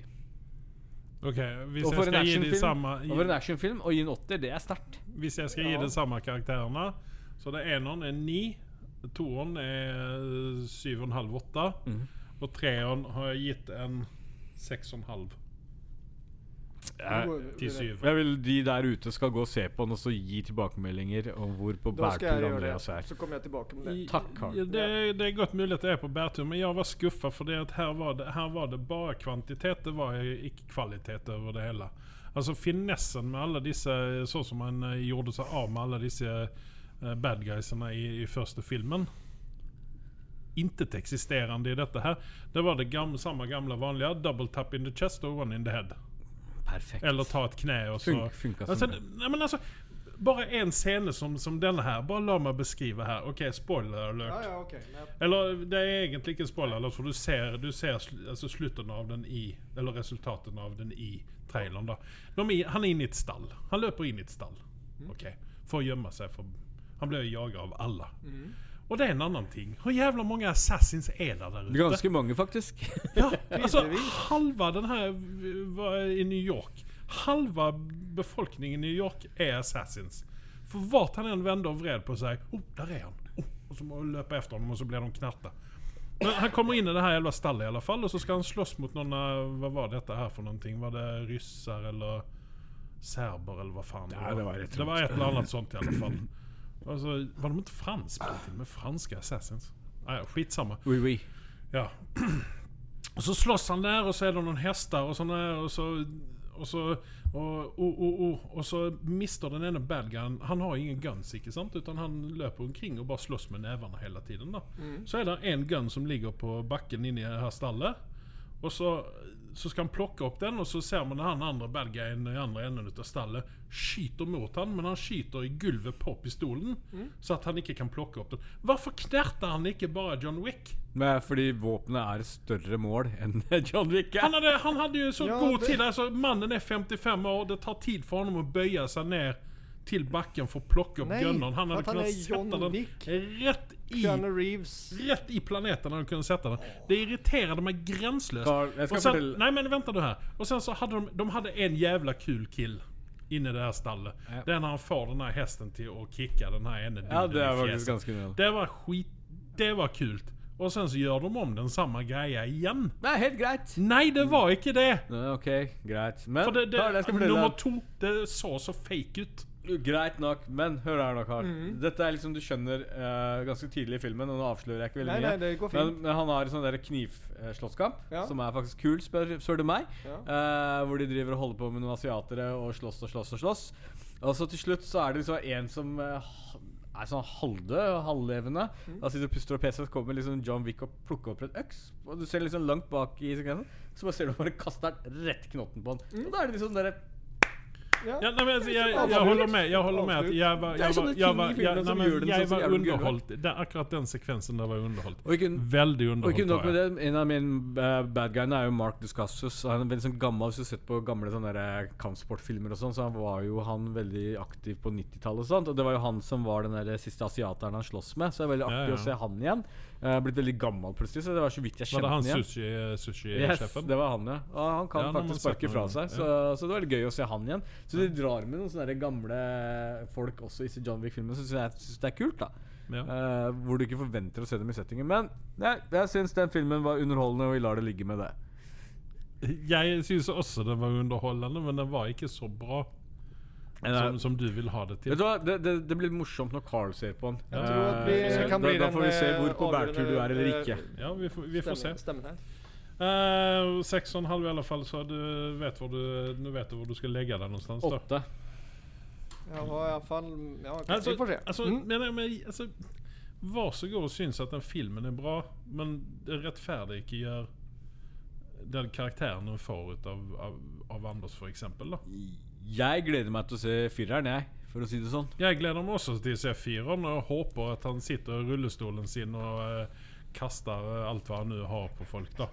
Okej, okay,
Og for en
jag ska ge dig
actionfilm,
samma...
og for en actionfilm å gi en åtter, det er sterkt.
Hvis jeg skal
Ja.
gi det samme karakterene Så det eneren er ni Toeren er eh, syv og en halv åtta Og treeren har jeg gitt en seks og en halv
Hvor-
til syv
Jeg vil de der ute skal gå og se på den og så gi tilbakemeldinger om hvor på
Da skal
bærtur
jeg gjøre
Andreas
det.
er.
Så kommer jeg tilbake med det.
Takk, Karl.
Ja, det, det er godt mulig at jeg er på bærtur Men jeg var skuffet for det at her var det, her var det bare kvantitet Det var ikke kvalitet over det hele Altså finessen med alle disse Sånn som man eh, gjorde seg av med alle disse eh, Bad guysene i, i første filmen intet existerande i dette her. Det var det gamla, samma gamla vanliga. Double tap in the chest och one in the head.
Perfekt.
Eller ta ett knä och så...
Fun- funkar som
alltså,
det.
nej, men alltså, bara en scen som, som denna här. Bara låt mig beskriva här. Okej, spoiler alert.
Ja, ja, ok. Men jeg-
Eller det er egentlig ikke en spoiler, alert, for du ser, du ser sl- altså, slutten av den i Eller resultatene av den i traileren. da De er, Han er inne i et stall. Han løper inn i et stall Ok, for å gjemme seg. For, han blir jaget av alle. Og det er en annen ting. Hvor jævla mange assassins er det der ute?
Ganske mange, faktisk.
Ja, altså, Alltså, halva den her var i New York. Halva befolkningen i New York er assassins. For vart han än vände och vred på sig, oh, där är han. Oh, och så må- löpa efter honom och så blir de knarta. Men han kommer in i det här jävla stallet i alla fall och så ska han slåss mot någon, eh, vad var detta här för någonting? Var det ryssar eller serber eller vad fan
Ja, det var rätt
Det var ett eller annat sånt i alla fall. Och så var de inte fransmän till och med? Franska assassins? Nej, skitsamma.
Oui, oui.
Ja. Och så slåss han där och så är det någon hästar och sån där och så... Och så... Och, och, och, och, och så mister den ene bad guyen, han har ingen guns icke sant? Utan han löper omkring och bara slåss med nävarna hela tiden då. Så är det en gun som ligger på backen inne i det här stallet. Och så, så ska han plocka upp den och så ser man han andra bad guyen i andra änden utav stallet skjuter mot han men han skjuter i gulvet på pistolen. Så att han inte kan plocka upp den. Varför knärtar han inte bara John Wick?
Men fordi våpenet er større mål enn John Wick.
Han hade, han hade ju så
Ja,
god
det-
tid. Alltså, mannen är 55 år. Det tar tid för honom att böja sig ner till backen för att plocka upp
Nej,
gunnern. Han hade
att han
kunnat
är John
sätta den
Wick.
rätt i...
Keanu Reeves.
Rätt i planeten hade han kunnat sätta den. Det irriterade mig gränslöst.
Carl, jag ska
och sen,
fortälla-
Nej men vänta du här. Och sen så hade de, de hade en jävla kul kill. Inne i det här stallet.
Ja.
Det är när han får den här hästen till att kicka den här ene
Ja,
bilden
det
i
er
fjäsen.
faktisk ganske nødvendig.
Det var skit... Det var kul. Och sen så gör de om den samma greja igen.
Nei, helt greit.
Nej, det var inte det!
Nei, ok, greit. Men
För det, det,
Karl, jeg skal fortelle
nummer
deg.
två, det såg så fake ut.
Greit nok, men hør her nå, Karl.
Mm.
Dette er liksom du skjønner eh, ganske tidlig i filmen, og nå avslører jeg ikke veldig
Nei,
mye.
nei, det går fint.
men, men han har en sånn der knivslåsskamp,
Ja.
som er faktisk kul, spør, spør du meg.
Ja.
Eh, hvor de driver og holder på med noen asiatere og slåss og slåss og slåss. Og så til slutt så er det liksom en som eh, ha- er sånn halvdød, halvlevende.
Mm.
Han sitter og puster og peser, så kommer liksom John Wick og plukker opp et øks. Og du ser liksom langt bak i sekvensen, så bare ser du bare kaster den rett i knotten på han.
Mm.
Og da er det liksom derre
Ja, nej, men, alltså, jag, jag,
Avslut.
håller med, jag håller med. Att jag var,
Det är
jag
som
var,
det
jag
ting i
var, jag, nej,
filmen som gör
men,
den
jag
så
var
jävla gullig.
underhållt. Den, akkurat den sekvensen där var underhållt.
Og ikke,
Väldigt
og ikke
underhållt
nok
var
med
jag.
det, en av mine eh, bad guyene er jo Mark Duscassus. Han er veldig sånn gammel, hvis du har sett på gamle sånne der, eh, kampsportfilmer og sånn, så han var jo han veldig aktiv på 90-tallet og sånt. Og det var jo han som var den der siste asiateren han sloss med, så det er veldig
Ja,
artig
ja.
å se han igjen. Eh, blitt veldig gammel plutselig, så det var så vidt jeg
Var det
kjente
han
han igjen.
sushi-chefen? Sushi
Yes,
chefen?
det var han, ja. Og han kan
Ja, nå har man
faktisk sparke
sett
fra
noen,
seg, så, så det var veldig gøy å se han igjen. Så de drar med noen sånne der gamle folk også i John Wick-filmen, så syns jeg synes det er kult, da.
ja.
Eh, hvor du ikke forventer å se dem i settingen. Men nei, jeg syns den filmen var underholdende, og vi lar det ligge med det.
Jag syns också den var underhållande, men den var inte så bra. Som,
Eh,
som du vill ha det
Vet
till.
du hva, det, det, det blir morsomt når Carl ser på den.
Jeg
tror at vi
Eh,
kan
da,
bli
da får vi
den,
se
eh,
hvor på
avgjørende,
bærtur du er eller
eh,
ikke.
Ja, vi får, vi får se.
Stemmer- Stemmer det?
Uh, sex och en halv i alla fall, så du vet var du, nu vet du var du ska lägga den någonstans. Då.
eh, Åtte.
Ja, hva, i alla fall, ja, kanskje
Alltså,
vi får se.
alltså,
Mm.
men, men, alltså, varsågod och syns att den filmen är bra, men det rättfärdigar inte gör den karaktären den får utav, av, av Anders för exempel. Då.
Jeg gleder meg til å se fireren, jeg, for å si det sånn.
Jag gläder mig också till att se fyran och hoppas att han sitter i rullestolen sin och eh, kastar eh, allt vad han nu har på folk. Då.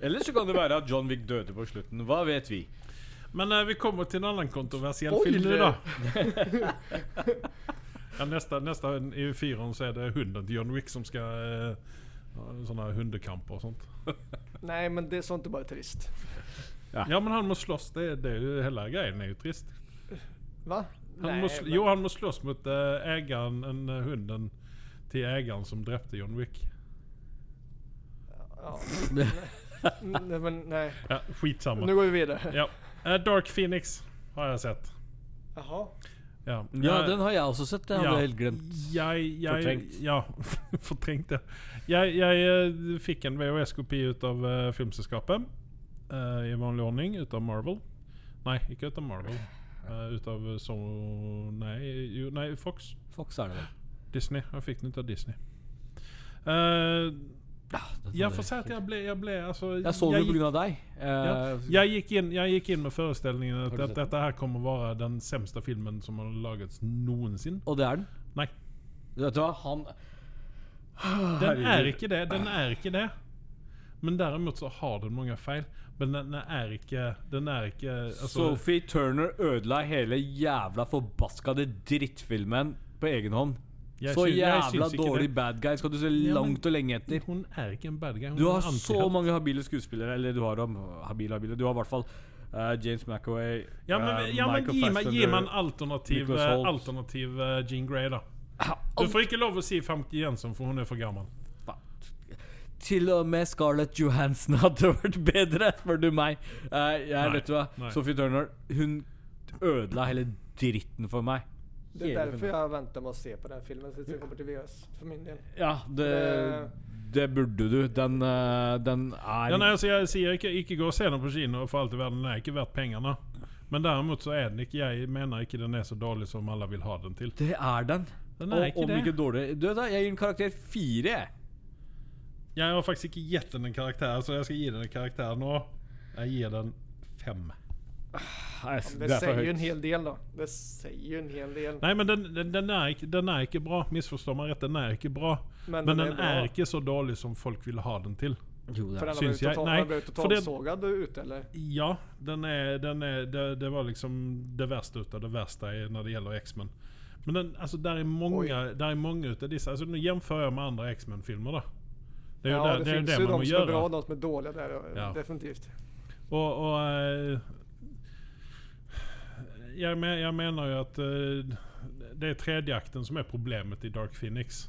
Eller så kan det være at John Wick døde på slutten. Hva vet vi?
Men eh, vi kommer till en annan kontroversiell
Oj,
film nu
det-
då. ja, nästa, nästa i fyran så är det hunden till John Wick som ska... Eh, sådana här hundekamper och sånt.
Nej, men det är sånt är bara trist.
Ja men han måste slåss, det, det är ju hela grejen är ju trist.
Va?
Han
Nej,
måste,
men-
Jo han måste slåss mot eh, ägaren, en, eh, hunden till ägaren som dräpte John Wick.
Ja. nej, men nej.
Ja, skitsamma.
Nu går vi vidare.
Ja. Eh, Dark Phoenix har jeg sett.
Jaha.
Ja,
Ja,
Eh,
den har jeg også sett. Det hadde
ja.
jeg helt glemt.
Jeg, jeg,
Fortrengt.
Ja, fortrengt, ja. Jeg, jeg eh, fikk en VHS-kopi ut av eh, filmselskapet. eh, I vanlig ordning, ut av Marvel. Nei, ikke ut av Marvel. eh, ut av eh, Sony Nei, jo, nei, Fox.
Fox er det vel.
Disney. Jeg fikk den ut av Disney. Eh,
Den
jeg
hadde
får si at jeg ble, jeg ble altså,
Jeg så den jo
gikk-
pga. deg.
alltså, Ja.
Eh,
Jag gick in, jag gick in med föreställningen
Har
att
du
det,
sett den?
detta här kommer vara den sämsta filmen som har lagats någonsin.
Og det er den.
Nej,
Vet du hva, han
den är
Ah, herregud.
inte det. Den är inte det. Men däremot så har den många fel. Men den är inte... Den är inte... Alltså,
Sophie Turner ødela hele jævla forbaskede drittfilmen på egen hånd.
Jeg
så
sy- jeg
jævla
syns ikke
dårlig
det.
bad guy skal du se
men- Mm,
langt og lenge etter.
hon är inte en bad guy. Hon
Du
är
har
en
så
antihjälte.
mange habile skuespillere. Eller du har dem habile, habile. Du har i hvert fall eh, James McAway,
Ja men,
eh,
ja, men
Michael
ge mig, ge mig en
Fassbender.
alternativ,
Nicholas
eh,
Holt.
alternativ eh, Jean Grey då. Du får inte lov att se Famke Jensen för hon är för gammal.
Fa- Til og med Scarlett Johansen hadde vært bedre, spør du meg. Eh, jeg,
Nei,
vet du hva,
nei.
Sophie Turner Hun ødela hele dritten for meg.
Det er
Hele
derfor
filmen.
jeg venter med å se på den filmen siden den kommer til VØS, for min del.
Ja, det, det burde du. Den, eh, den er
Ja, alltså, nei, altså, jeg sier ikke, ikke gå og se den på kino, for alt i verden. Den er ikke verdt pengene. Men derimot så er den ikke Jeg mener ikke den er så dårlig som alle vil ha den til.
Det er den.
Den er
Og-
ikke
Om
det.
ikke dårligere. Du vet da, jeg gir en karakter fire. jeg.
Jeg har faktisk ikke gitt den en karakter, så jeg skal gi den en karakter nå. Jeg gir den fem.
Nei,
Ja, men
det
Det
er for
sier jo en
høyt.
hel del, da. Det sier jo en hel del.
Nei, men den, den, den, er, ikke, den er ikke bra. Misforstå meg rett, den er ikke bra. Men, den, er,
bra.
ikke så dårlig som folk vil ha den til.
Jo, det
For den
er.
har
syns jeg-
blitt total-
nei,
den har blitt
for det-
totalsågad ut, eller?
Ja, den er, den er det, det var liksom det verste ut av det verste i- når det gjelder X-Men. Men den, alltså, altså, der er mange, der er mange ut av disse altså, Nå jevnfører jeg med andre X-Men-filmer, da. Det er jo
Ja,
der-
det,
det, er jo
finnes
det
jo
man
de
må
som er bra
gjøre.
og de som er dårlige der,
Ja.
eh, definitivt.
Og, og eh, jeg, me, jeg mener jo at eh, det er tredjeakten som er problemet i Dark Phoenix.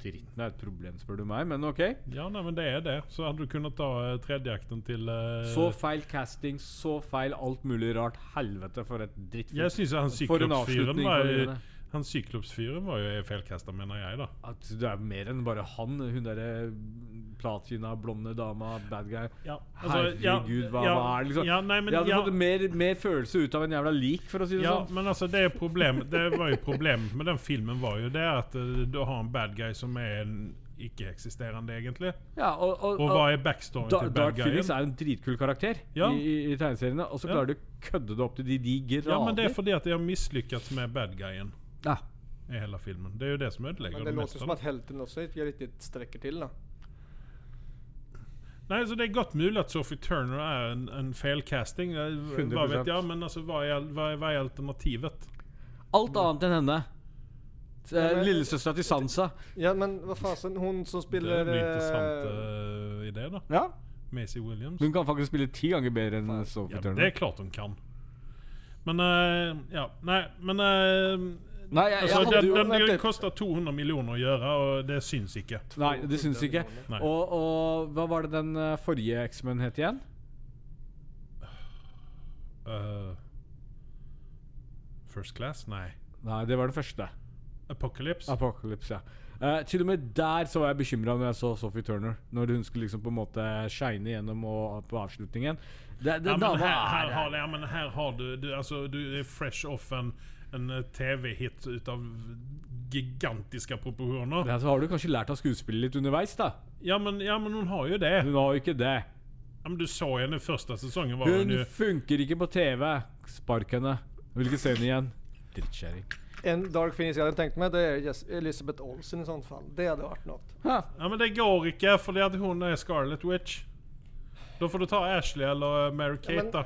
Dritten er et problem, spør du meg, men ok.
Ja, nei, men det er det. Så hadde du kunnet ta eh, tredjeakten til eh,
Så feil casting, så feil alt mulig rart. Helvete, for et dritt.
Jeg syns han
For
syklopsfyren
en avslutning
var,
på livet.
han syklopsfyren var jo feilkasta, mener jeg, da.
At det er mer enn bare han. Hun derre platina, blonde dama, bad guy.
Ja,
Herregud, hva- hva er det liksom?
Ja, nei, men,
Jeg hadde
ja,
fått mer, mer følelse ut av en jævla lik, for å si det
ja,
sånn.
men altså, det, er problem, det var jo problemet med den filmen var jo det at eh, du har en bad guy som er en ikke-eksisterende, egentlig.
Ja, og, og,
Og
og,
hva er backstoryen
da,
til bad
Dark Phoenix
guyen?
er en dritkul karakter
Ja.
i, i, i tegneseriene, og så
Ja.
klarer du å kødde det opp til de, de grader.
Ja, men det er fordi at de har mislykkes med bad guyen
Ja.
i hele filmen. Det er jo det som ødelegger
Men det
det
låter
meste.
som at helten også ikke riktig strekker til, da.
Nei, så Det er godt mulig at Sophie Turner er en, en feilcasting. Eh, Hva
100%.
vet jeg, men altså, hva er, hva er, hva er alternativet?
Alt annet enn henne. eh,
Ja, men-
Lillesøstera til Sansa.
Ja, men hva fasen, hun som
Det
spiller
er en interessant
eh,
eh, idé, da.
Ja.
Macy Williams.
Hun kan faktisk spille ti ganger bedre enn
Ja,
Sophie
men det
Turner.
er klart hun kan. Men eh, Ja, nei, men eh,
Nei, jeg, jeg
altså,
hadde
den,
jo
den,
vent litt.
koster 200 millioner å gjøre, og det syns ikke.
Nei, det syns ikke.
Nei.
Og, og hva var det den eh, forrige X-Men het igjen?
Eh, first Class? Nei.
Nei, det var det første.
Apocalypse?
Apocalypse, ja. Eh, til og med der så var jeg bekymra når jeg så Sophie Turner. Når hun skulle liksom på en måte shine gjennom og, på avslutningen. Det, det,
Ja, men
dama
her,
er-
her, har, ja, men her har du, du altså, Du er fresh off en, en eh, TV-hit utav gigantiske proporsjoner.
Ja, så alltså, har du kanskje lært av skuespillet litt underveis, da.
Ja men, ja, men hun har jo det.
Hun har jo ikke det.
Ja, men du så henne i første sesongen. Var hun,
Hun
jo
funker ikke på TV. Spark henne. Vil ikke se henne igjen. Drittkjerring.
eh.
En Dark Phoenix jeg hadde tenkt meg, det er Jes- Elizabeth Olsen i sånt fall. Det hadde vært noe.
Ha.
Ja, men det går ikke, fordi at hun er Scarlet Witch. Da får du ta Ashley eller eh, Mary Kate,
men-
da.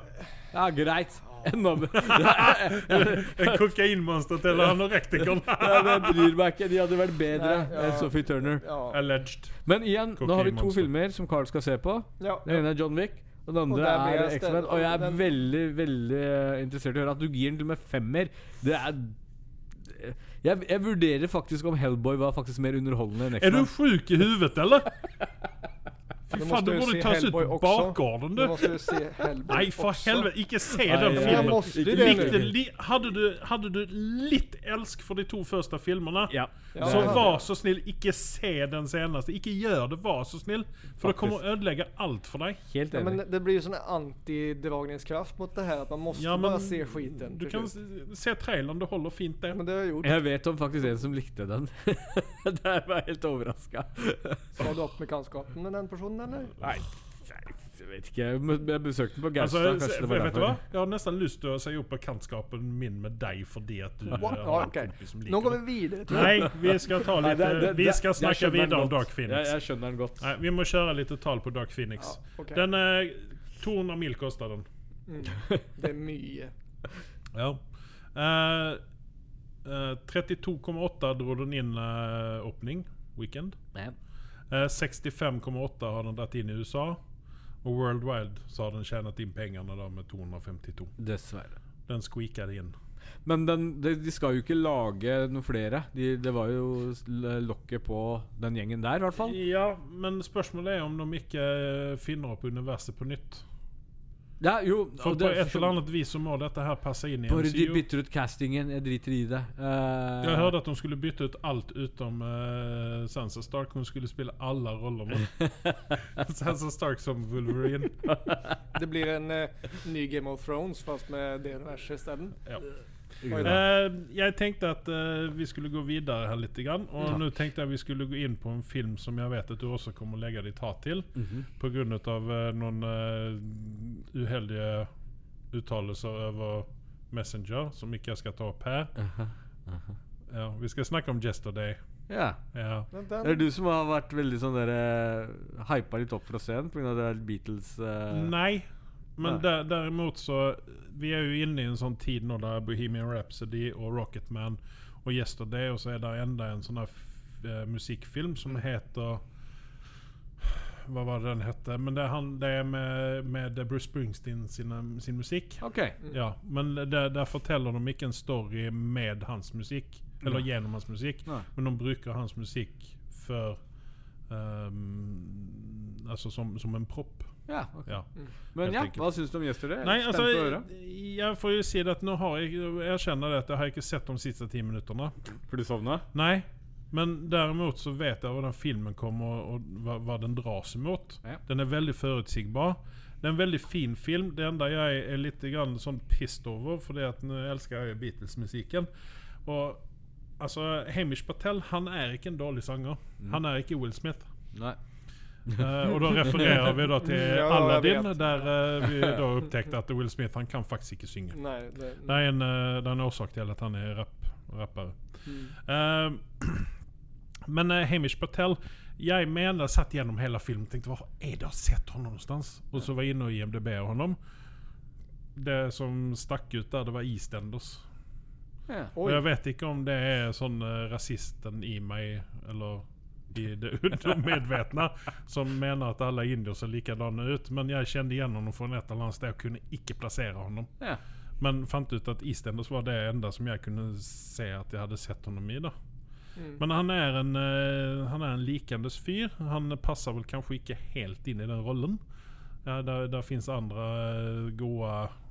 Ja, greit. Enda be-
Kokainmonsteret eller anorektikeren.
Ja, det bryr meg ikke. De hadde vært bedre
Nei, ja.
enn Sophie Turner.
Ja.
Alleged.
Men igjen, nå har vi to
Kokainmonster.
filmer som Carl skal se på.
ja.
Den ene er John Wick, og den andre
der blir
er
jeg
X-Men.
stemt-
Og jeg er
den-
veldig, veldig eh, interessert i å høre at du gir den til og med femmer. Det er jeg, jeg vurderer faktisk om Hellboy var faktisk mer underholdende enn
Er du
X-Men.
sjuk i huvudet, eller? Fy
Du
faen,
måste
du
ju
burde
se
tas ut
Hellboy
på
också.
bakgården,
Nå
du.
måste du se Hellboy
Nei, for
også.
helvete. Ikke se
Nei,
den
jeg-
Jeg
filmen.
måste ju
Ikke
det
Likte,
likt
nu.
li, hadde, du, hadde du litt elsk for de to første filmene,
Ja.
Ja,
så
det hadde
vær
jeg.
så snill, ikke se den seneste. Ikke gjør det, vær så snill. For det kommer å ødelegge alt for deg.
Helt
Ja,
enig.
men det blir ju sån antidragningskraft mot det här att man måste
Ja, men
bara se skiten.
Du
till
kan
slut.
se- se traileren, det holder fint, det.
Men det har jag gjort.
Jeg vet om faktisk en som likte den. Der var jeg helt overraska.
Sa du opp bekantskapen med den personen eller?
Nei, nei, jeg vet ikke. Jeg mø- Jeg besøkte den på
Altså,
Gaustad. kanskje
jeg,
det var
Alltså, vet du hva?
derfor.
Jeg har nesten lyst til å si opp bekjentskapen min med deg fordi at du
What?
eh,
Ja,
har en
okej.
kompis som liker
Nå går vi
det.
videre till
Nei, vi skal ta
Nei,
litt
det- det-
eh, Vi
det-
skal
jeg
snakke
skjønner den
videre om
godt.
Dark
Jeg,
Phoenix.
jeg skjønner den godt.
Nei, vi må kjøre litt tall på Dark Phoenix.
Ja, okej.
Den eh, 200 mil koster den.
Det er mye.
Ja. Eh, eh, 32,8 dro den inn eh, åpning, weekend.
Men.
Eh, 65,8 har den dratt inn i USA. Og worldwide så har den tjent inn pengene da med 252.
Dessverre.
Den squeakade inn.
Men den, de, de skal jo ikke lage noen flere. De, det var jo s- l- lokket på den gjengen der, i hvert fall.
Ja, men spørsmålet er om de ikke eh, finner opp universet på nytt.
Ja, jo
For på
og det-
et eller annet vis så må dette her passe inn i
Bare de
MCU.
bytter ut castingen. Jeg driter i det. Eh,
Jeg hørte at de skulle bytte ut alt utenom uh, Sansa Stark. Hun skulle spille alle rollene. Sansa Stark som Wolverine.
Det blir en eh, ny Game of Thrones, fast med det universet isteden.
Mm-hmm.
Eh, jeg tenkte at eh, vi skulle gå videre her litt. Grann, og
Takk.
nå tenkte jeg vi skulle gå inn på en film som jeg vet at du også kommer å legge ditt hat til.
Mhm.
Pga. Uh, noen eh, uheldige uttalelser over Messenger, som ikke jeg skal ta opp her.
Aha.
Ja, vi skal snakke om Yesterday.
Ja.
Ja.
Den,
Det
den,
er du som har vært veldig sånn der eh, Hypa litt opp fra scenen pga. Beatles eh,
Nei. Men
Nei.
der, derimot så Vi er jo inne i en sånn tid nå der Bohemian Rhapsody og Rocketman og Yesterday, og så er det enda en sånn her f- eh, musikkfilm som heter Hva var det den hette? Men det er, han, det er med, med Bruce Springsteen sine, sin musikk.
OK.
Ja, men der, der forteller de ikke en story med hans musikk, eller
Nei.
gjennom hans musikk,
Nei.
men de bruker hans musikk for ehm, Altså som, som en propp.
Ja, ok.
Ja.
Men
Helt
ja,
enkelt.
hva syns du om Yesterday? Jeg er
Nei,
spent
altså
på å høre.
Jeg alltså, får jo si det at nå har jeg Jeg kjenner det at jeg har ikke sett de siste ti minuttene.
For du sovna?
Nei. Men derimot så vet jeg hvordan filmen kommer, og, og hva, hva den dras imot.
Ja.
Den er veldig forutsigbar. Det er en veldig fin film. Det enda jeg er litt grann sånn pissed over, fordi at nå elsker jeg jo Beatles-musikken. Og altså, alltså, Hamish Patel han er ikke en dårlig sanger. Han er ikke Will Smith.
Nei.
Eh, og da refererer vi da til
Ja, jeg
Aladdin,
vet.
der eh, vi da opptekte at Will Smith han kan faktisk ikke synge.
nei, det,
Det er en, eh, det er en årsak til at han er rapp, rapper.
mm.
Eh, men eh, Hamish Patel Jeg mener satt gjennom hele filmen tenkte Var er det jeg har sett honom någonstans? Og så var jeg inne og IMDB honom. Det som stakk ut der, det var Eastenders.
Ja.
Og
Oi,
jeg vet ikke om det er sånn eh, rasisten i meg, eller i det undermedvetne, som mener at alle indier ser likadana ut. Men jeg kjente igjen honom fra et eller annet sted og kunne ikke plassere honom.
Ja.
Men fant ut at Eastenders var det enda som jeg kunne se at jeg hadde sett honom i. da
Mm.
Men han er en eh, Han er en likandes fyr. Han passer vel kanskje ikke helt inn i den rollen. Ja, der, der finnes andre eh, gode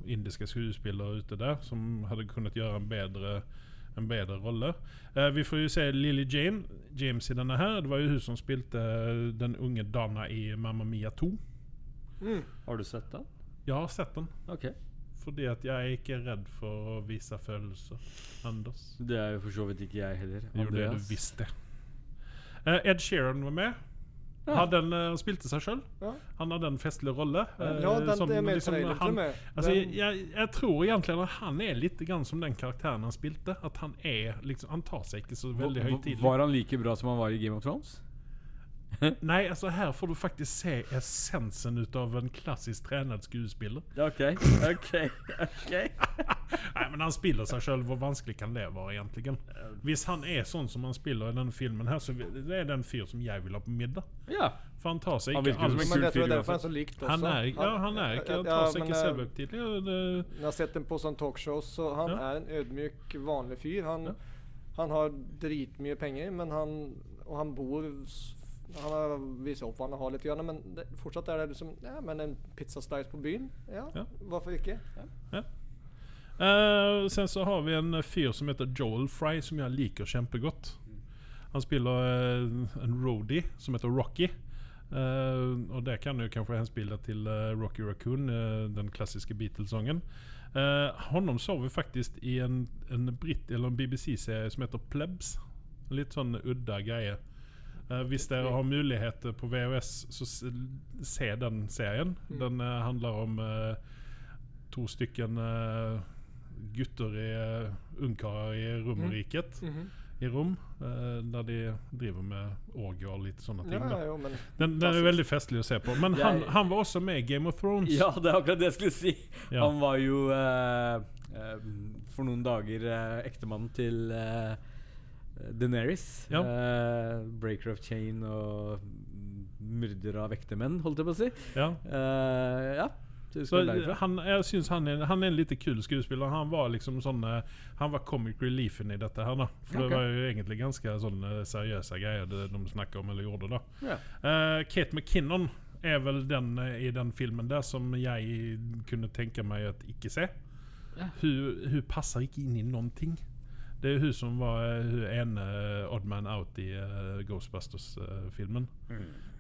indiske skuespillere ute der som hadde kunnet gjøre en bedre, en bedre rolle. Eh, vi får jo se Lily Jane, James i denne her. Det var jo hun som spilte eh, den unge Dana i Mamma Mia 2.
Har du sett den?
Jeg har sett den.
Ok.
Fordi at jeg er ikke redd for å vise følelser, Anders.
Det er jo for så vidt ikke jeg heller.
Jo, det du
Andreas.
visste. Eh, Ed Sheeran var med. Hadde en, eh, han spilte seg sjøl.
Ja.
Han hadde en festlig rolle. eh,
ja, den,
som
det er med
liksom
traileren til
han-
og med.
Altså,
Den-
jeg, jeg tror egentlig at han er litt grann som den karakteren han spilte. At Han er liksom Han tar seg ikke så veldig
V-
høytidelig.
Var han like bra som han var i Game of Thrones?
Nei, altså her alltså, får du faktisk se essensen ut av en klassisk trenet skuespiller.
Ja, Ok, ok, ok.
Nei, men han spiller seg sjøl. Hvor vanskelig kan det være, egentlig? Hvis han er sånn som han spiller i denne filmen, her, så vi- det er det en fyr som jeg vil ha på middag.
Ja.
For han tar seg
Han
ikke
virker jo som
alls
Men
en kul
det tror jeg
fyr
derfor han er
uansett.
så likt også.
Han er ikke, ja, han er ikke Han tar seg
men,
ikke
eh,
selvhøytidelig. og det-
Jeg har sett dem på sånn talkshows, så han
Ja.
er en ødmjuk, vanlig fyr. Han,
Ja.
han har dritmye penger, men han, og han bor s- Han har vist opp hva han har litt, grann, men det, fortsatt er det liksom Ja, men en pizzaslice på byen? Ja,
Ja.
hvorfor ikke?
Eh, sen så har vi en fyr som heter Joel Fry, som jeg liker kjempegodt. Han spiller eh, en roadie som heter Rocky. Eh, og det kan jo kanskje henspille til eh, Rocky Raccoon, eh, den klassiske Beatles-sangen. Uh, honom så vi faktisk i en, en britt- eller en BBC-serie som heter Plebs. En Litt sånn udda greie. Eh, hvis dere
Mm.
har muligheter på VHS, så s- se den serien.
Mm.
Den eh, handler om eh, to stykken eh, gutter i eh, ungkarer i Romerriket.
Mm. Mm-hmm.
I Rom. eh, der de driver med orgie og litt sånne ting.
Ja,
da.
ja, jo, men
Den, den er veldig festlig å se på. Men han,
Jeg-
han var også med i Game of Thrones.
Ja, det er akkurat det jeg skulle si.
Ja.
Han var jo eh, eh, for noen dager eh, ektemannen til eh, Daenerys.
Ja.
Eh, breaker of chain og myrder av ektemenn, holdt jeg på å si.
Ja.
Eh, ja.
Det
Så
skal være derifra.
han, jeg syns han, er- han er en lite kul skuespiller. Han var liksom sånn eh, Han var comic reliefen i dette her, da. For
Ok.
det var jo egentlig ganske sånn eh, seriøse greier det de snakka om eller gjorde, da.
Ja.
Eh, Kate McKinnon er vel den eh, i den filmen der som jeg kunne tenke meg at ikke se.
Ja.
Hun, hun passer ikke inn i noen ting. Det er hun som var eh, hun ene Oddman Out i eh, Ghostbusters-filmen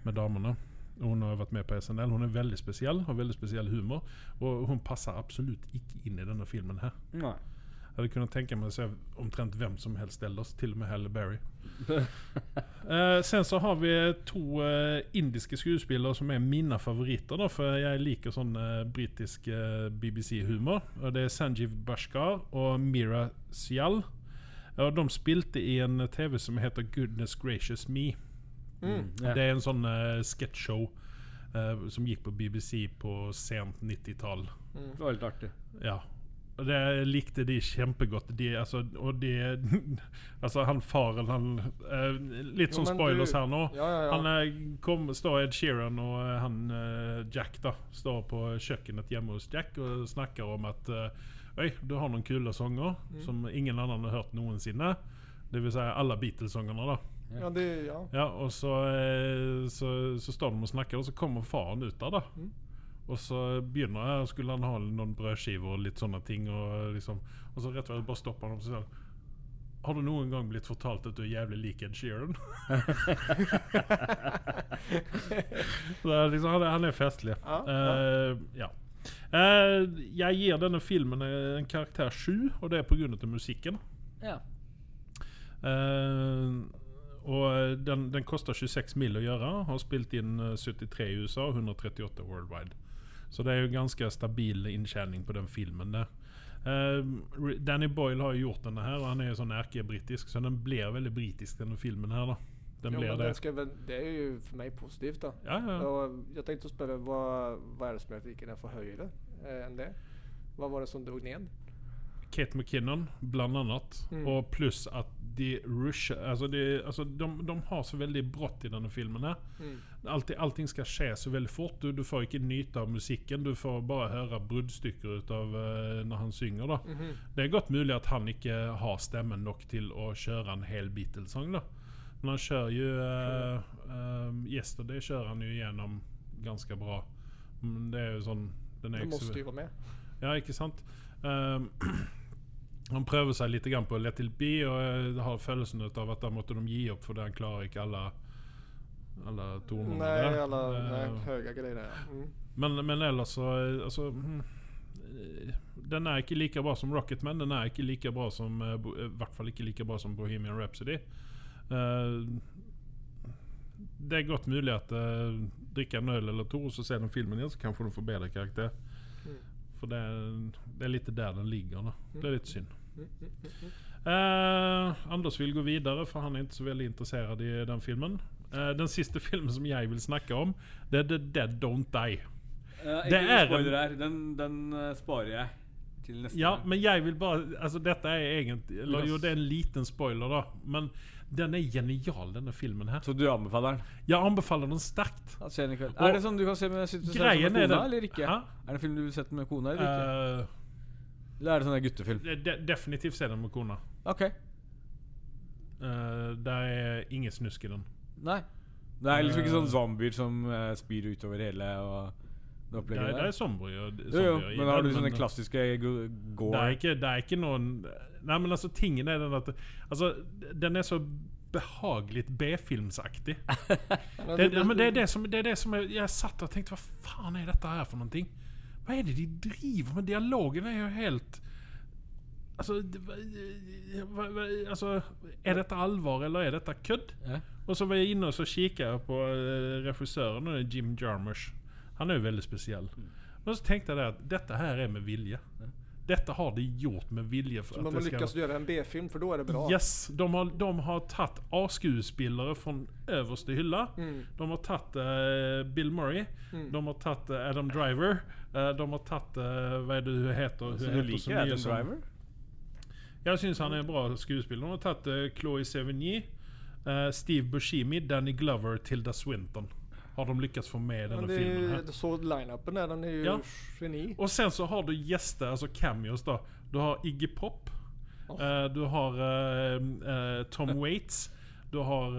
med damene. Hon har varit med på SNL. Hon är väldigt speciell, har väldigt speciell humor. Och hon passar absolut inte in i denna filmen här.
Nei.
Jag hade kunnat tänka mig att se omtrent vem som helst ellers, till och med Halle Berry. Eh, sen så har vi två eh, indiska skuespillere som är mina favoriter då, för jag liker sån eh, brittisk eh, BBC-humor. Och det är Sanjiv Bashkar och Mira Syal. Ja, de spilte i en eh, TV som heter Goodness Gracious Me.
Ja.
Det er en sånn uh, sketsjshow eh, som gikk på BBC på sent 90-tall.
Det var litt artig.
Ja. Og det likte de kjempegodt. De, altså, og de Altså, alltså, han faren, han eh, Litt
Jo,
sånn
men
spoilers
du-
her nå.
Ja, ja, ja.
Han eh, kom, står Ed Sheeran og eh, han eh, Jack da står på kjøkkenet hjemme hos Jack og snakker om at eh, Oi, du har noen kule sanger
Mm.
som ingen annen har hørt noensinne. Det vil si alle Beatles-sangene, da.
ja, det, ja.
Ja, og så, eh, så, så står de og snakker, og så kommer faren ut der, da.
Mm.
Og så begynner jeg, og skulle han ha noen brødskiver og litt sånne ting. Og liksom Og så rett og slett bare stopper han opp og sier han, Har du noen gang blitt fortalt at du er jævlig lik Ed Sheeran? så det er liksom, han, er, han er festlig.
Ja,
Eh, ja. Eh, jeg gir denne filmen en karakter sju, og det er pga. musikken.
Ja.
Eh, og den, den koster 26 mill. å gjøre. Har spilt inn eh, 73 i USA og 138 worldwide. Så det er jo ganske stabil inntjening på den filmen. der. Eh, Re- Danny Boyle har jo gjort denne her, og han er jo sånn erkebritisk, så den blir veldig britisk, denne filmen her. da. Den
Jo,
blir
men
det.
den ska väl- det är ju för mig positivt då.
Ja, ja.
Och jag tänkte spela vad, vad är det som gör att vilken är för högre eh, än det? Vad var det som drog ned?
Kate McKinnon, bland annat.
Mm.
Och plus att de rushar, alltså, det- alltså de, de har så väldigt brått i den här filmen. Här.
Mm.
Allting, allting ska ske så väldigt fort. Du, du får inte njuta av musiken, du får bara höra bruddstycken utav eh, när han synger. Då.
Mhm.
Det är gott möjligt att han inte har stämmen nog till att köra en hel Beatles-sång. då. Men han kör ju... Uh, yesterday kör han ju igenom ganska bra. Men det är ju sån... Den är
Det
ju så-
måste ju vara med.
ja, ikke sant? Ehm, han prøver seg litt grann på Let it be, og jeg har følelsen ut av at da måtte de gi opp, fordi han klarer ikke alle, alle tonene
Nej,
der.
alla
Ehm,
nej, höga grejer. ja. Mm.
men, men ellers så eh, altså, mm, eh, Den er ikke like bra som Rocketman. Den er ikke like bra som eh, Bo- eh, I hvert fall ikke like bra som Bohemian Rhapsody. Eh, det er godt mulig at uh, drikke en øl eller to, og så ser den filmen igjen, så kanskje den får bedre karakter.
Mm.
For det er, det er litt der den ligger. Da. Det er litt synd.
Mm, mm, mm, mm.
Eh, Anders vil gå videre, for han er ikke så veldig interessert i den filmen. Eh, den siste filmen som jeg vil snakke om, det er The Dead Don't Die.
Eh,
Det
ikke
er en-
spoiler her. Den, den eh, sparer jeg til neste
Ja,
gang.
men jeg vil bare Altså, dette er egentlig eller, Jo, det er en liten spoiler, da. Men den er genial, denne filmen her.
Så du anbefaler den?
Jeg anbefaler den sterkt.
Ja, se den i kveld.
Og-
er det sånn du kan se med, sitte og se den
Greien
med
er
kona,
den-
eller ikke?
Hæ?
Er det en film du vil sette med kona, eller ikke?
Eh,
eller er det sånn der guttefilm?
det- det- definitivt se den med kona.
Ok.
Eh, det er ingen snusk i den.
Nei. Det er liksom ikke sånn zombier som eh, spyr utover hele og det
Det er,
opplegget
det er
der.
zombier.
Jo, jo,
zombier i
men har
den,
du sånne
men-
klassiske go-
Det
gore
er ikke, det er ikke noen Nei, men altså, tingen er den at Altså, den er så behagelig B-filmsaktig. Det, ja, men det, er det som, det er det som jeg, jeg satt og tenkte Hva faen er dette her for noen ting? Hva er det de driver med? Dialogen er jo helt Altså, det- hva- hva, hva, altså Er dette alvor, eller er dette kødd?
Ja.
Og så var jeg inne og så kikket jeg på eh, regissøren, og det er Jim Jarmusch. Han er jo veldig spesiell. Men så tenkte jeg det at dette her er med vilje. Dette har de gjort med vilje. For
Men
at
man
det skal-
lyckas göra en B-film för då är det bra.
Yes, de har, de har tatt A-skuespillere fra øverste hylla. De har tatt eh, Bill Murray. De har tatt eh, Adam Driver. Eh, de har tatt eh, Hva er det hun heter?
Så
Hun
du
heter så
liker
mye
Adam
som-
Driver?
Jeg syns han er en bra skuespiller. De har tatt eh, Chloé Sevigny, eh, Steve Bushimi, Danny Glover, Tilda Swinton. har de lyckats få med
Men
den
det
filmen här.
är, så line-upen där, den är ju
Ja.
geni.
Och sen så har du gäster, alltså cameos då. Du har Iggy Pop.
Oh.
eh, du har eh, eh, Tom Waits. Du har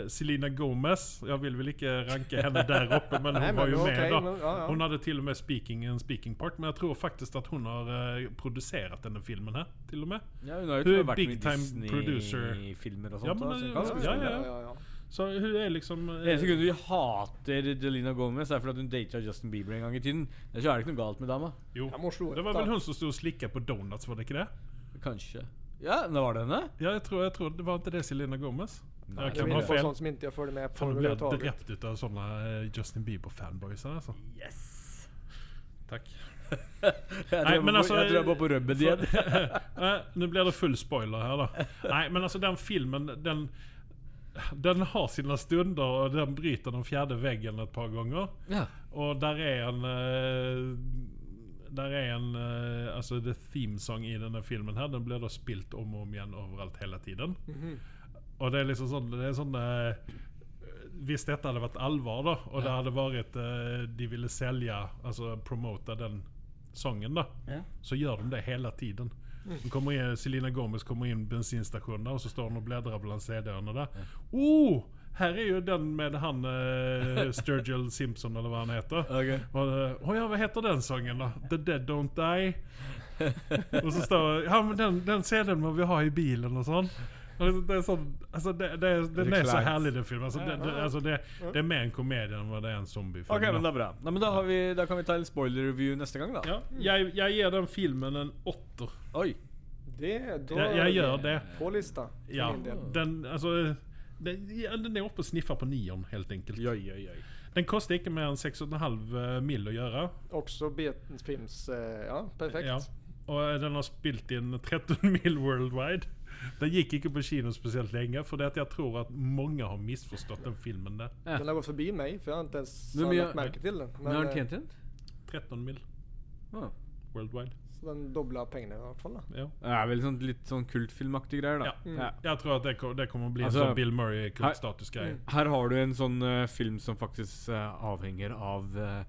eh, Selena Gomez. Jag vill väl inte ranka henne där uppe men hon
Nej, men
var ju
det var
med
okej,
då.
men- ja, ja.
Hon hade till och med speaking, en speaking part. Men jag tror faktiskt att hon har eh, producerat den här filmen här till och med.
Ja, hun har
Hun
jo til
er
og med vært
big
med i
time producer.
Disney-filmer og
Ja,
sånt.
men
da, så
det-
hun kan
ja,
skuespille.
ja.
ja.
Så hur är liksom... eh,
Den eneste grunnen vi hater Delina Gomez, er fordi at hun data Justin Bieber en gang i tiden. Ellers er det ikke noe galt med dama.
jo.
Jag mår så
Det var
bra.
väl hon som stod och slickade på donuts, var det inte det?
Kanskje. Ja, nå var det henne.
Ja, jag tror, jag tror det var inte det Selena Gomez.
Nej,
jag
Det
kan
var
ha
på
fel.
sånt som inte jag följde med på
Fan, nu blir jag
överhuvudtaget.
drept utav såna eh, Justin Bieber-fanboys alltså. Yes! Tack.
Jeg
Nei,
tror jeg
men
var
altså,
på- jeg tror jeg var på rubben igjen.
Eh, nu blir det full spoiler här då. Nej, men alltså den filmen, den... Den har sina stunder och den bryter den fjärde väggen ett par gånger.
Ja.
Och där är en... eh, Där är en... eh, Alltså the theme song i den här filmen här. Den blir då spilt om och om igen överallt hela tiden. Och det är liksom sån... Det är sån eh, Visst detta hade varit allvar då. Och det hade varit... eh, De ville sälja, alltså promota den sången då. Så gör de det hela tiden. De kommer in, Selena Gomez kommer in bensinstationen där och så står hon och bläddrar bland CD-erna där. Oh! Här är ju den med han eh, Sturgill Simpson eller vad han heter.
Ok.
Och, eh, "Oj, ja, vad heter den sången då? The Dead Don't Die? och så står det, ja men den, den CDn må vi ha i bilen och sånt. Och det- Det är sån, alltså det, det, är- den är så
Reclined.
härlig den filmen. Alltså det, det, altså det, det är mer en komedie än vad det är en zombiefilm.
Ok, men det er bra. Nei, men da, har vi, da kan vi ta en spoiler-review neste gang, da.
ja, jag, jag ger den filmen en åtter.
Oi.
Det, då,
Jag, jag gör det.
På lista. för
Ja,
min del.
den, alltså, den, ja, den är uppe och sniffar på nion helt enkelt.
Oi, oi, oi.
Den kostar inte mer än 6,5 eh, mil att göra.
Också B-films... eh, Ja, perfekt.
Ja. Och eh, den har spilt in 13 mil worldwide. Den gick inte på kino speciellt länge för det att jag tror att många har missförstått den filmen där.
Den har gått förbi mig för jag har inte ens
Men
lagt
jag-
märke till den. Men,
Men har
eh,
hun tjent igjen?
13 mil
Ah.
worldwide.
Så den dobla pengarna i alla fall. då.
Ja.
Det er vel sånn, litt sånn kultfilmaktig greier, da.
Ja. Jag tror att det, ko- det kommer bli
Alltså- mm.
en sån Bill Murray kultstatusgrej.
Her har du en sånn eh, film som faktisk eh, avhenger av uh,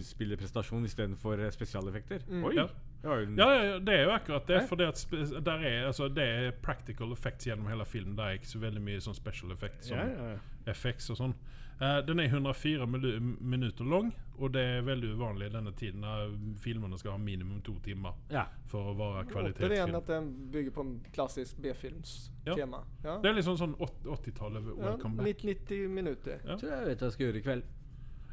skuespillerprestasjon istedenfor uh, spesialeffekter. Oi!
Ja.
Det var jo den.
Ja, ja, ja, det är ju akkurat det. För det, att spe- där är, alltså, det är practical effects genom hela filmen. Där är inte så väldigt mycket som special effects. Som,
Ja, ja, ja.
FX och sånt. Eh, Den är 104 minu- minuter lång och det är väldigt vanligt i denna tiden när filmerna ska ha minimum två timmar
Ja.
för att vara
Återigen
kvalitetsfilm.
att den bygger på en klassisk B-films
Ja.
tema. Ja.
Det är liksom sån åt- 80-tal,
Ja,
welcome back.
90 minuter.
Ja.
Jeg tror jeg vet hva jeg skal gjøre i kveld.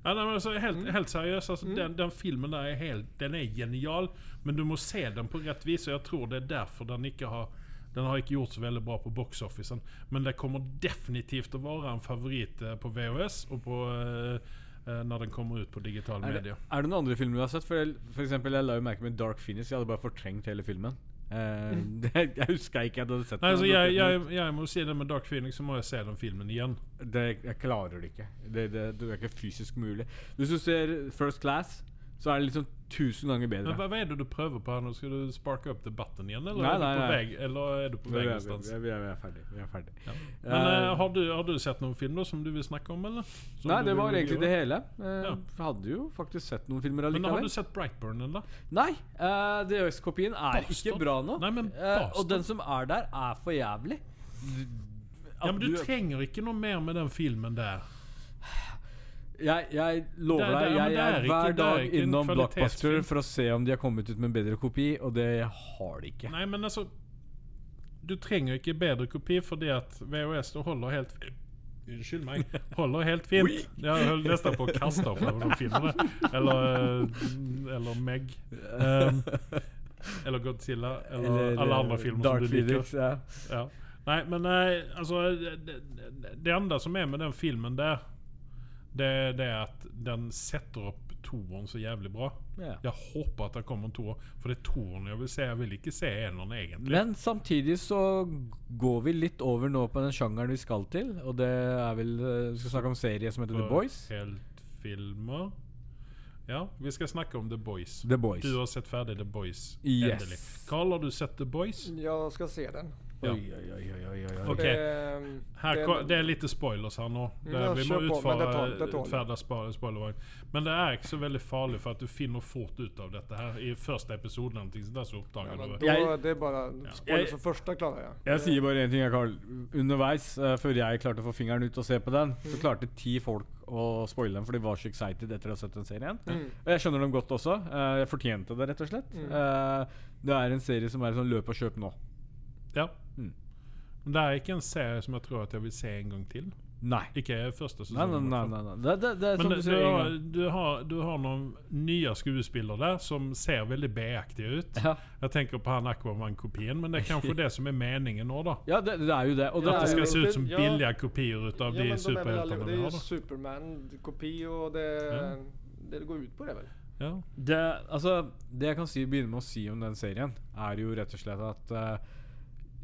Ja, nej, men alltså, helt,
Mm.
helt seriöst, alltså, den, den filmen där är helt, den är genial. Men du måste se den på rätt vis och jag tror det är därför den inte har den har inte gjort så väldigt bra på box-officen. Men det kommer definitivt att vara en favorit eh, på VHS och på, eh, eh, när den kommer ut på digital
Er det,
media.
er det noen andre filmer du har sett? For, jeg- for eksempel, jeg la jo merke med Dark Finish. Jeg hadde bare fortrengt hele filmen. Eh, det, jeg huska ikke at jeg hadde sett
Nei, altså,
men
jeg,
det-
jeg, jeg må si det med Dark Phoenix, så må jeg se den filmen igjen.
det, Jeg klarer det ikke. Det, det, det er ikke fysisk mulig. Hvis du ser First Class, så er det liksom tusen ganger bedre.
Men hva, hva er det du prøver på her nå? Skal du sparke opp debatten igjen, eller,
Nei,
er, du
nei,
på
nei.
Vei, eller er du på
Vi
vei
er,
någonstans?
vi, er, vi, er, vi er ferdig. Vi er ferdig.
Men
Eh,
eh, har, du, har du sett noen film da, som du vil snakke om, eller? Som
Nei,
du
det
vil
var egentlig
gjøre?
det hele. Eh,
Ja.
Hadde jo faktisk sett noen filmer
Men har
allikevel.
du sett Brightburn, eller?
Nei! Eh, DHS-kopien er ikke
Bastard.
bra nå.
Nei, men
Eh, og
bastard.
den som er der, er for jævlig.
Ja, men du
du-
trenger ikke noe mer med den filmen der.
Jeg, jeg lover
Det er- det
deg,
er- men
jeg
det er
er
ikke-
hver
det er
dag
ikke en
innom Blockbuster
kvalitetsfilm.
for å se om de har kommet ut med en bedre kopi, og det har de ikke.
Nei, men altså Du trenger ikke bedre kopi fordi at VHS da holder helt Unnskyld meg. Holder helt fint. Jeg holdt nesten på å kaste opp over noen filmer. Eller, eh, eller Meg. Ehm, eller Godzilla. Eller, eh, alle andre filmer
Dark
som du liker.
Phoenix, ja.
Ja. Nej, men nej, alltså det, det- det enda som är med den filmen där det, det är att den sätter upp toren så jävligt bra.
Ja.
Jag hoppas att det kommer en tor, för det är toren jag vill se. Jag vill inte se någon egentligen.
Men samtidig så går vi litt over nå på den sjangeren vi skal til, og det er vel eh, Vi skal snakke om serie som heter The Boys.
Heltfilmer. Ja, vi ska snacka om The Boys.
The Boys.
Du har sett färdigt The Boys.
Yes.
Karl, har du sett The Boys?
Jag ska se den.
Ja.
Oi, oi, oi, oi, oi, oi.
Ok.
Det,
Her,
Ehm, det-
ko- det er lite spoilers her nå. Det,
Ja,
vi må
kjør på, men
utføre,
det tar- det tar litt.
utferda spa- spoilervarning. Men det er ikke så veldig farlig, for at du finner fort ut av dette her. I første episode eller noe sånt, der så
ja,
oppdager
men
du
da,
det.
Jeg-
det er bare spoiler
Jeg-
for første klarer jeg.
Jeg sier bare én ting, jeg, Carl. Underveis, eh, før jeg klarte å få fingeren ut og se på den, så klarte ti folk å spoile den, for de var så excited etter å ha sett den serien.
Mm.
Og Jeg skjønner dem godt også. Eh, Jeg fortjente det, rett og slett.
Mm.
Eh, Det er en serie som er sånn løp og kjøp nå.
Ja.
Mm.
Men det er ikke en serie som jeg tror at jeg vil se en gang til.
Nei.
Ikke første
Nei,
sesong.
nei,
i
nei.
hvert fall.
nei, nei. Det, det, det
Men
er som
det, du,
du sier en
har,
gang.
du, har, du har noen nye skuespillere der som ser veldig B-aktige ut.
Ja,
Jeg tenker på han Aquaman-kopien, men det er kanskje det som er meningen nå, da.
ja det, det er jo det. Og det
Ja,
At det
er
skal
jo,
se ut som
Ja.
billige kopier ut av
Ja,
de
men de er vel alle-
superheltene
Det
vi
er
har.
jo
da.
Superman-kopi, og det,
Ja.
det går ut på det, vel.
Ja.
det, altså, det jeg kan si, begynne med å si om den serien, er jo rett og slett at eh,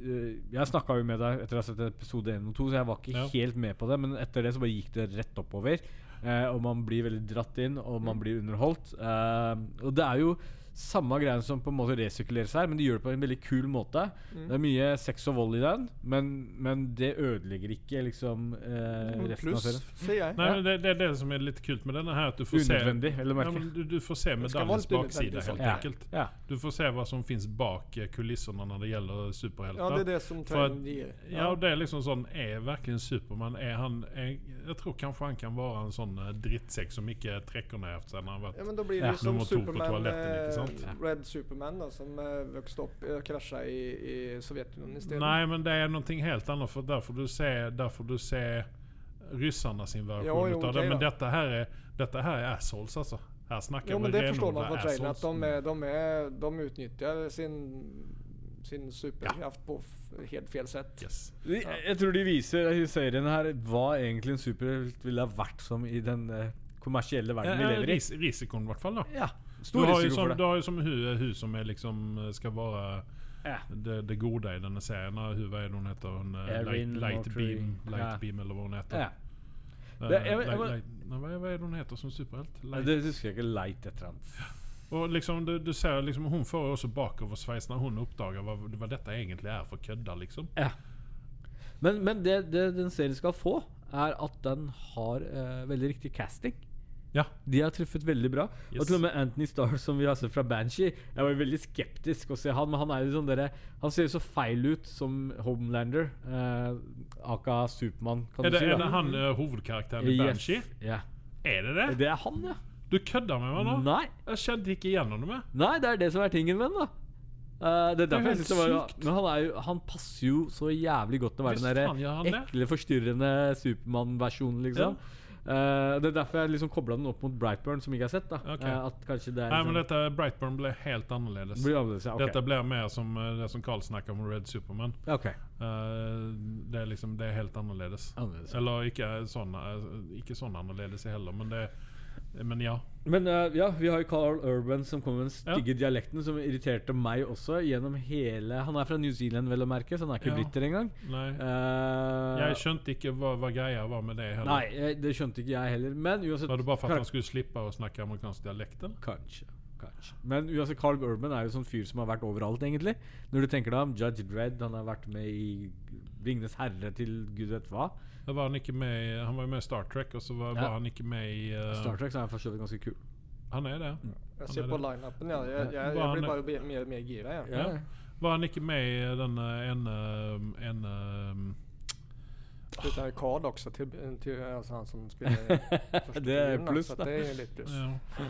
eh, Jeg snakka jo med deg etter å ha sett episode 1 og 2, så jeg var ikke
Ja.
helt med på det. Men etter det så bare gikk det rett oppover. eh, og man blir veldig dratt inn, og man blir underholdt. Eh, og det er jo samme greia som på en måte resirkuleres her, men de gjør det på en veldig kul måte.
Mm.
Det er mye sex og vold i den, men, men det ødelegger ikke liksom
Mm,
eh, resten av
Pluss,
serien.
sier jeg.
Nei, men det, det er det som er litt kult med denne her, at du får se
Unødvendig, eller
ja,
merkelig.
men du, du får se
skal være
medaljens
litt
bakside,
unødvendig,
helt
Ja.
enkelt.
Ja.
Du får se hva som finnes bak eh, kulissene når det gjelder
Ja, det
superhelter.
er det som
For at-
trenden gir.
Ja, og det er liksom sånn Er virkelig Supermann Er han er, Jeg tror kanskje han kan være en sånn eh, drittsekk som ikke trekker ned etter seg når han har vært
Ja, men da blir det
Ja.
jo som
Nummer to på
Superman,
toaletten, ikke sant?
eh, Red Superman, da, som eh, vokste opp og krasja i, i Sovjetunionen isteden.
Nej, men det är någonting helt annat. För där får du se, där får du se ryssarna sin version
Jo, jo,
utav det.
okej
Men
då.
detta här, är, detta här är assholes alltså. Här snackar
Jo,
vi
men det
renodlade
forstår man fra traileren,
assholes.
at de, er- de, er, de utnytter sin, sin superkraft på f helt fel sett.
Yes.
De- Jeg tror de viser i serien her hva egentlig en superhelt ville ha vært som i den eh, kommersielle
Ja,
verden vi lever i.
ris risikon i vart fall då.
Ja,
Du
Stor
har, ju
risiko
som,
for
du
det.
har ju som hu, hu som är liksom, eh, ska vara
Ja.
det, det goda i den här serien. Eh, Hu, vad är det hon heter? Hon, eh, light,
Erin
light,
Moultrie.
beam, light
Ja.
beam eller vad hon heter.
Ja.
Eh,
Det- jag- jag-
light, light, nej, vad, är- vad är det hon heter som superhjälte?
Nei,
Light
Det husker jeg ikke. Light et eller annet.
Og liksom, du, du ser liksom, Hun får jo også bakoversveis når hun oppdager hva, hva dette egentlig er for kødder. liksom.
Men, men det, det den serien skal få, er at den har eh, veldig riktig casting.
Ja.
De har truffet veldig bra.
Yes.
Og til og med Anthony Starr, som vi har sett fra Banshee Jeg var jo veldig skeptisk å se han, men han er jo sånn dere Han ser jo så feil ut som Homelander. Eh, Aka Supermann, kan
Er det,
du si.
er
da.
det han eh, hovedkarakteren i
Yes.
Banshee?
Ja.
Er det det?
Det er han, ja.
Du kødder med meg nå?
Nei,
Jeg kjente ikke igjennom det.
nei, det er det som er tingen med den, da. Eh, det er derfor jeg
helt
synes det var
sykt.
Men han, er jo, han passer jo så jævlig godt til å være
Visst faen
den
gjør han
der
det.
ekle, forstyrrende Supermann-versjonen, liksom. Eh, det er derfor jeg liksom kobla den opp mot Brightburn, som ikke jeg har sett. da
Ok.
Eh, At kanskje det er
Nei,
liksom,
men dette Brightburn ble helt annerledes.
blir annerledes. Ja, ok.
Dette blir mer som eh, det som Carl snakker om Red Superman.
Ja, ok.
Eh, det er liksom, det er helt annerledes.
Annerledes.
Eller ikke sånn, eh, ikke sånn annerledes heller, men det Men ja.
Men eh, ja, vi har jo Carl Urban som kom med den
Ja.
stygge dialekten som irriterte meg også gjennom hele Han er fra New Zealand, vel å merke, så han er
Ja.
ikke briter engang.
Nei.
Eh,
Jeg skjønte ikke hva, hva greia var med det heller.
Nei, eh, det skjønte ikke jeg heller. Men uansett
Var det bare for at han skulle slippe å snakke amerikansk dialekt? eller?
Kanskje. Kanskje. Men uansett, Carl Urban er jo sånn fyr som har vært overalt, egentlig. Når du tenker deg om Judge Dredd, han har vært med i Ringenes herre til gud vet hva.
Da var han, ikke med, i- han var jo med i Star Trek, og så var,
Ja.
var han ikke med i eh,
Star Trek Mm. så er han for så vidt ganske kul.
Han er det.
Jeg
Han
ser
er
på
det.
lineupen, ja. Jeg,
Var
jeg, jeg
han-
blir bare be- mer og mer gira, jeg.
Ja. Var han ikke med i den eh, en, eh, en eh,
Utan Karl också till, till alltså han som spelar första
Det är
figuren,
plus
så att
då.
Det är lite plus.
ja.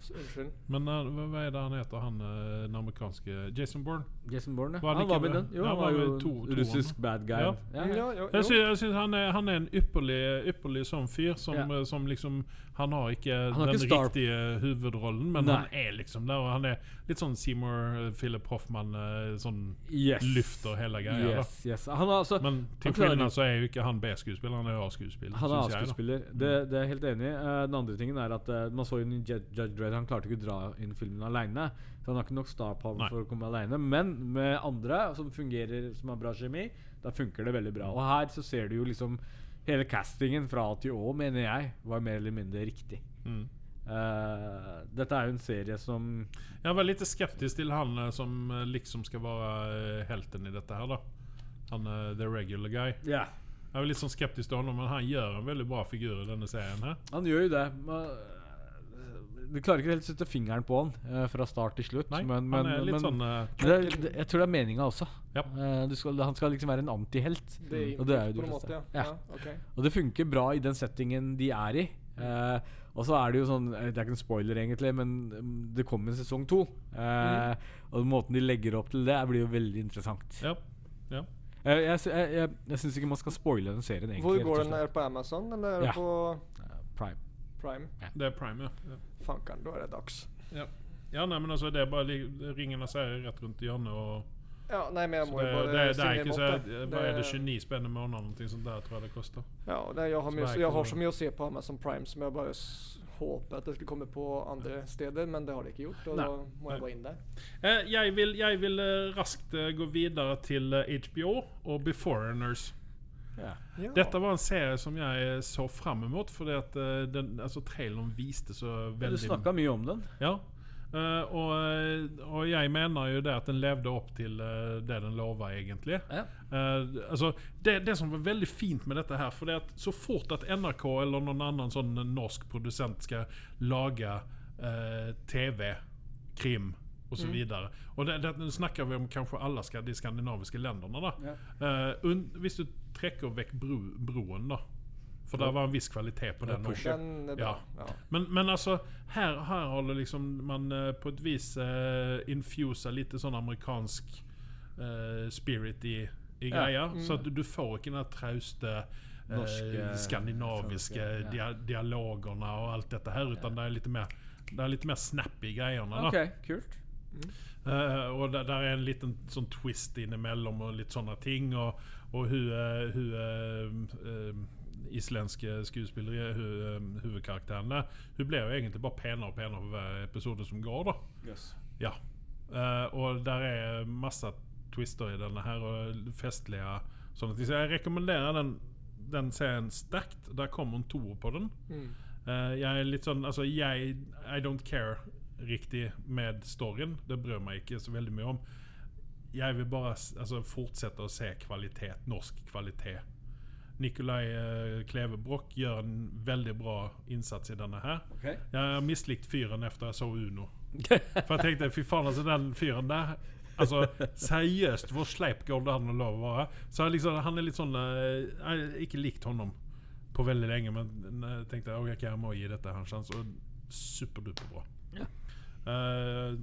Så, Ursäkta.
Men eh, hva, hva er det han heter, han eh, den amerikanske Jason Bourne?
Jason Bourne, ja.
Var han
Han,
ikke
var med i
med?
den. Jo,
Ja,
han
han
var
var
jo
med i to-
en russisk
toeren.
bad guy.
Ja.
Ja.
Mm, ja, jo,
Jeg
jo.
syns, jeg syns han, er, han er en ypperlig, ypperlig sånn fyr som,
Ja.
eh, som liksom Han har ikke
har
den
ikke star-
riktige hovedrollen, men
Nei.
han er liksom der. Og han er litt sånn Seymour eh, Philip Hoffman, eh, sånn
Yes.
lyfter hele greia. da.
Yes, yes. Han er altså
Men til
klarer
skillnad
ikke-
så er jo ikke han B-skuespiller, han er jo A-skuespiller.
Han er
synes jeg, da. Mm.
A-skuespiller. Det, det er jeg helt enig i. Eh, den andre tingen er at eh, man så jo i Judge Judge Dredd han klarte ikke å dra inn filmen aleine. Så han har ikke nok star power
Nei.
for å komme aleine. Men med andre som fungerer som har bra kjemi, da funker det veldig bra. Og her så ser du jo liksom hele castingen fra A til Å, mener jeg, var mer eller mindre riktig.
Mm.
Eh, dette er jo en serie som
Jeg var lite skeptisk til han eh, som eh, liksom skal være eh, helten i dette her, da. Han eh, the regular guy.
Ja.
Jeg er litt sånn skeptisk til honom, men han gjør en veldig bra figur i denne serien. her
Han gjør jo det. Men
eh,
du klarer ikke helt å sette fingeren på han eh, fra start til slutt.
Nei,
men, men,
han er
men,
litt sånn eh,
men det, er- det, Jeg tror det er meninga også.
Ja.
Eh, du skal, han skal liksom være en antihelt.
Det er
Og det er jo de
innflytt på en
fleste.
måte, ja.
Ja.
ja. ok.
Og det funker bra i den settingen de er i. Eh, og så er det jo sånn eh, Det er ikke en spoiler, egentlig, men mm, det kommer en sesong to. Eh, Og måten de legger opp til det, blir jo veldig interessant.
Mm. ja.
Eh, jeg sy- jeg, jeg, jeg syns ikke man skal spoile den serien, egentlig.
Hvor
rett
går
og
den? Er det på Amazon eller er det
Ja.
på
slett. Eh, Prime.
Prime?
Det er prime, ja. ja.
Fanken, da er det dags.
Ja, nei, men altså, det er bare li- Ringen av serier rett rundt hjørnet. og
Ja, nei, men jeg
så
må
det,
jo bare
det, det er
synge
ikke
imot
så
det.
Hva er det, 29 spenn i måneden eller noe sånt der, tror jeg det koster.
Ja, og det, jeg, har
Så
mye,
det er
jeg
ikke
har
noe-
så mye å se på Amazon Prime som jeg bare s- håper at det skulle komme på andre steder, men det har det ikke gjort, og
Nei,
da må
nei.
jeg bare inn der.
Eh, jeg vil, jeg vil eh, raskt eh, gå videre til eh, HBO og Beforeigners.
Ja.
Dette var en serie som jeg så fram mot, fordi at eh, den, altså, traileren viste så
Du
veldig
snakka mye om den.
Ja. Eh, og, eh, og jeg mener jo det at den levde opp til eh, det den lova, egentlig.
Ja.
Eh, altså, det, det som var veldig fint med dette her, for det at så fort at NRK eller noen annen sånn norsk produsent skal lage eh, TV, krim og så videre Og det, det, nå snakker vi om kanskje alle ska, de skandinaviske landene, da. Eh, un, hvis du trekker vekk bro, broen, da. For det var en viss kvalitet på den. også.
Den er bra. Ja.
Men, men alltså, altså, her, her har det liksom man eh, på et vis uh, infusa litt sånn amerikansk eh, spirit i,
Ja. Mm.
i greia. Så at du, du får ikke den der trauste eh,
Norske-
skandinaviske
ja.
dia dialogene og alt dette her, utan det er litt mer det er litt mer snappy greiene. da
Ok, kult.
Eh, og der, der er en liten sånn twist innimellom og litt sånne ting. Og, og hun, eh, hun eh, eh, islandske skuespillere, hun, eh, hovedkarakteren der, hun ble jo egentlig bare penere og penere for hver episode som går. da Ja Eh, Og der er masse twister i denne her, og festlige sånne ting. Så jeg rekommenderer den, den serien sterkt. Der kommer en toer på den.
Mm.
Eh, jeg er litt sånn Altså, jeg I don't care riktig med storyen. Det bryr meg ikke så veldig mye om. Jeg vil bare s- altså, fortsette å se kvalitet. Norsk kvalitet. Nikolai eh, Kleve Broch gjør en veldig bra innsats i denne her.
Ok.
Jeg har mislikt fyren etter jeg så Uno. For jeg tenkte fy faen, altså den fyren alltså, der Altså, Seriøst, hvor sleip går det an å la være? Så jeg liksom, han er litt sånn eh, Jeg har ikke likt honom på veldig lenge, men eh, jeg tenkte jeg ok, jeg må gi dette her en sjanse. Og superduperbra. Eh,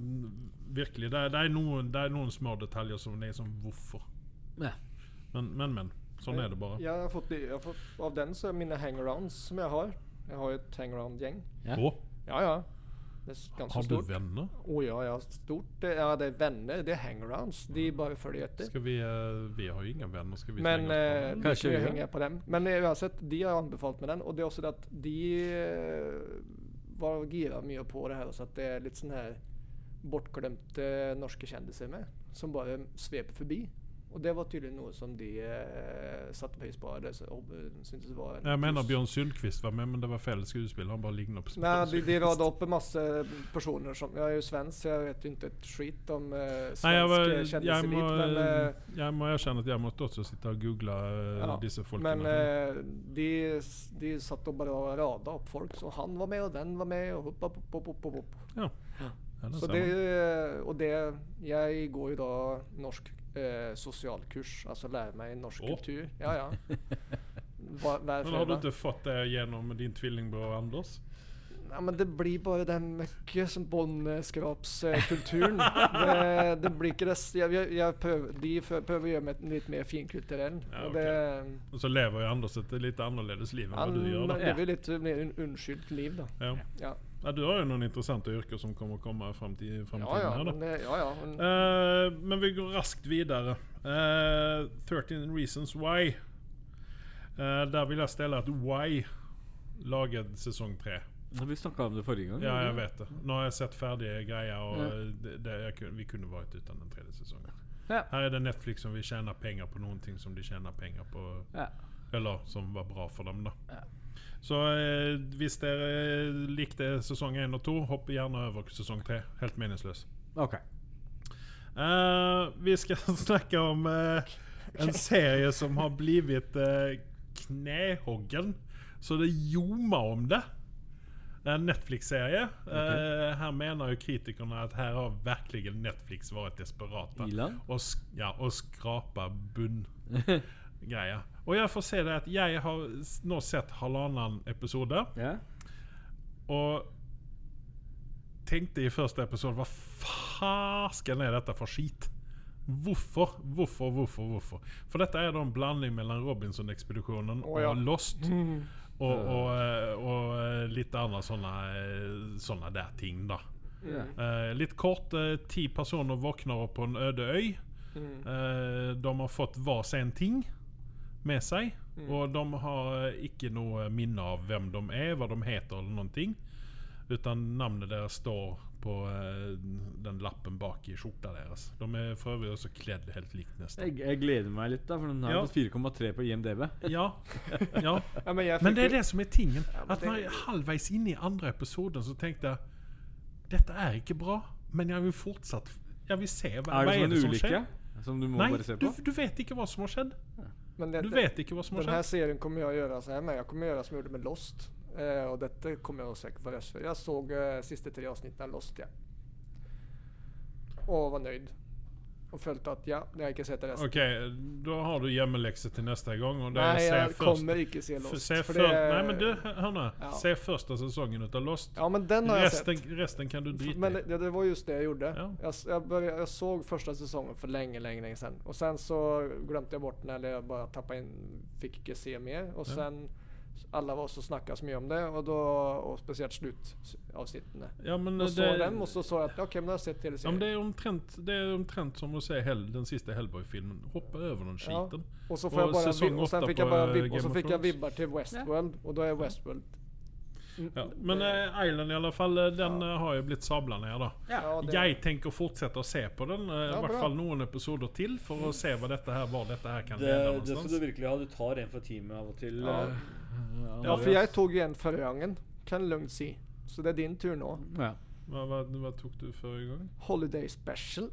virkelig. Det, er- det, er noen, det er noen små detaljer som liksom Hvorfor?
Ja.
Men, men, men. Sånn er det bare.
Jeg har fått, jeg har fått, av den så er mine hangarounds som jeg har. Jeg har jo et hangaround-gjeng.
Ja.
Og
Ja, ja. Det er ganske
har du
stort.
venner?
Å ja, ja. Stort. Det, ja, det er venner. Det er hangarounds. De bare følger etter.
Skal vi eh, Vi har jo ingen venner. Skal Mm. vi
Men
slenge oss på
eh,
dem?
vi
Kanskje
skal
vi
jo
gjør.
henge på dem. Men eh, uansett, de har anbefalt med den. Og det er også det at de eh, var gira mye på det her. Så at det er litt sånn her bortglemte norske kjendiser med, som bare sveper forbi. Og det var tydelig noe som de eh, satte pris på. Eller så- og, eh, syntes var en
Jeg mener
pluss.
Bjørn Sundquist var med, men det var feil skuespiller. Han bare ligner på
Nei, de, de rada opp en masse personer som Jeg er jo svensk, så jeg vet jo ikke et skit om uh, svensk
Nei, jeg, var,
eh,
jeg,
kjendiseliv.
må,
Men, eh,
jeg må erkjenne at jeg måtte også sitte og google eh,
Ja,
disse folkene.
Men eh, de, s- de satt og bare rada opp folk. Så han var med, og den var med, og hopp, hopp, hopp, hopp, hopp, hopp.
Ja, det
Så
ser
det,
man.
eh, og det Jeg går jo da norsk eh, sosialkurs, altså lærer meg norsk
Å.
kultur. Ja, ja. Hva- Hver
men har du
fredag.
ikke fått det gjennom din tvillingbror Anders?
Nei, men det blir bare den møkke som båndskrapskulturen. Det, det blir ikke det s- Jeg, jeg, jeg prøver, de fø- prøver å gjøre meg litt mer finkulturell.
Ja,
og det,
Og så lever jo Anders et litt annerledes liv enn hva
han
du gjør. da.
lever litt mer un- unnskyldt liv, da.
Ja.
Ja.
Ja, du har jo noen interessante yrker som kommer å komme frem til fremtiden
Ja, ja.
her, da.
Men, det- ja, ja men,
Eh, men vi går raskt videre. Eh, 13 Reasons Why. Eh, der vil jeg stille at Why lager sesong tre.
Ja, Vi snakka om det forrige gang.
Ja,
gjorde
jeg
vi
vet det. Nå har jeg sett ferdige greier, og
Ja.
eh, det, det, jeg kun, vi kunne vært uten den tredje sesongen.
Ja.
Her er det Netflix som vil tjene penger på noen ting som de tjener penger på.
Ja.
Eller som var bra for dem, da. Så eh, hvis dere likte sesong én og to, hopp gjerne over sesong tre. Helt
det.
meningsløs.
Ok.
Eh, vi skal snakke om eh, En serie som har blivit eh, knähoggen. Så det ljomar om det. Det är en Netflix-serie. Eh, här menar ju kritikerna att här har verkligen Netflix varit desperata.
Ilan?
Och, sk- ja, och skrapa bunn grejer. Och jag får se det att jag har s- nå sett halvannan episode.
Ja.
Og tenkte i første episode Hva fasken er dette for skit? Hvorfor, hvorfor, hvorfor? hvorfor? For dette er da en blanding mellom Robinson-ekspedisjonen
Å, ja.
og Lost. Og, og, eh, og eh, litt andre sånne, eh, sånne der ting, da. Eh, litt kort. eh, Ti personer våkner opp på en øde øy. Eh, de har fått hver sin ting med seg. Og de har eh, ikke noe minne av hvem de er, hva de heter eller noen ting. Utan navnet deres står på eh, den lappen bak i skjorta deres. De er for øvrig også kledd helt likt, nesten.
Jeg, jeg gleder meg litt, da, for den har
Ja.
fått 4,3 på IMDb.
Ja. ja.
Ja, men, jeg
Men det
fikk
er det som er tingen.
men
At
det-
når jeg er halvveis inne i andre episoden, så tenkte jeg Dette er ikke bra, men jeg vil fortsatt Jeg vil se hva,
Er
hva
det
er
sånn
det som
ulykke
skjer.
som du må
Nei,
bare se
du,
på?
du vet ikke hva som har skjedd.
jo- men det,
Du
det-
vet ikke hva som har
Den här
skjedd.
serien kommer jag göra så här med. Jag kommer göra som jag gjorde med Lost. Eh, och detta kommer jag säkert vara för. Jag såg eh, sista tre avsnitten av Lost ja. Och var nöjd. Och följt att ja, jag har inte sett det resten.
Ok, da har du hjemmelekse til neste gang. Og det er
Nej,
se
jag
først,
kommer inte se
f-
Lost.
se
för
før, Nei, men du, hør nå.
Ja.
Se første sesongen ut av Lost.
Ja, men den har jag sett.
Resten, resten kan du
F-
drite
Men
i.
det, det var just det jag gjorde.
Ja.
Jag, s- jag, började, jag såg första säsongen för länge, länge, länge sedan. Och sen så glömde jag bort den eller jag bara tappade in, fick inte se mer. Och
Ja.
sen s- alla var så snackas mycket om det och då, och speciellt slutavsnitten.
Ja, men
Och
det,
så dem och så sa jag att okej, men jag har sett hele
ja, men
serien.
det er omtrent, det er omtrent som å se Hell, den siste Hellboy-filmen. Hoppe over den
Ja.
skiten.
och så, får
och
jag bara,
säsong
vib- och sen
åtta
fick jag
på,
bara
eh,
vib-
Game
och så
of
fick jag
Thrones.
vibbar till Westworld och då är Westworld. Mm,
Ja. Men eh, Island i alle fall, eh, den eh, har jo blitt sabla ned, da.
Ja, det-
Jeg tenker å fortsette å se på den, eh, i
Ja,
hvert
bra.
fall noen episoder til, for å se hva dette her, hvor dette her kan
Det,
lede
det skal
någonstans.
du virkelig ha. Du tar en for teamet av og til.
Ja.
eh,
Ja, för jag tog ju en förra gången, kan jag lugnt säga. Så det är din tur nu.
Mm.
Ja.
Hva, hva, hva tok du forrige gang?
Holiday special.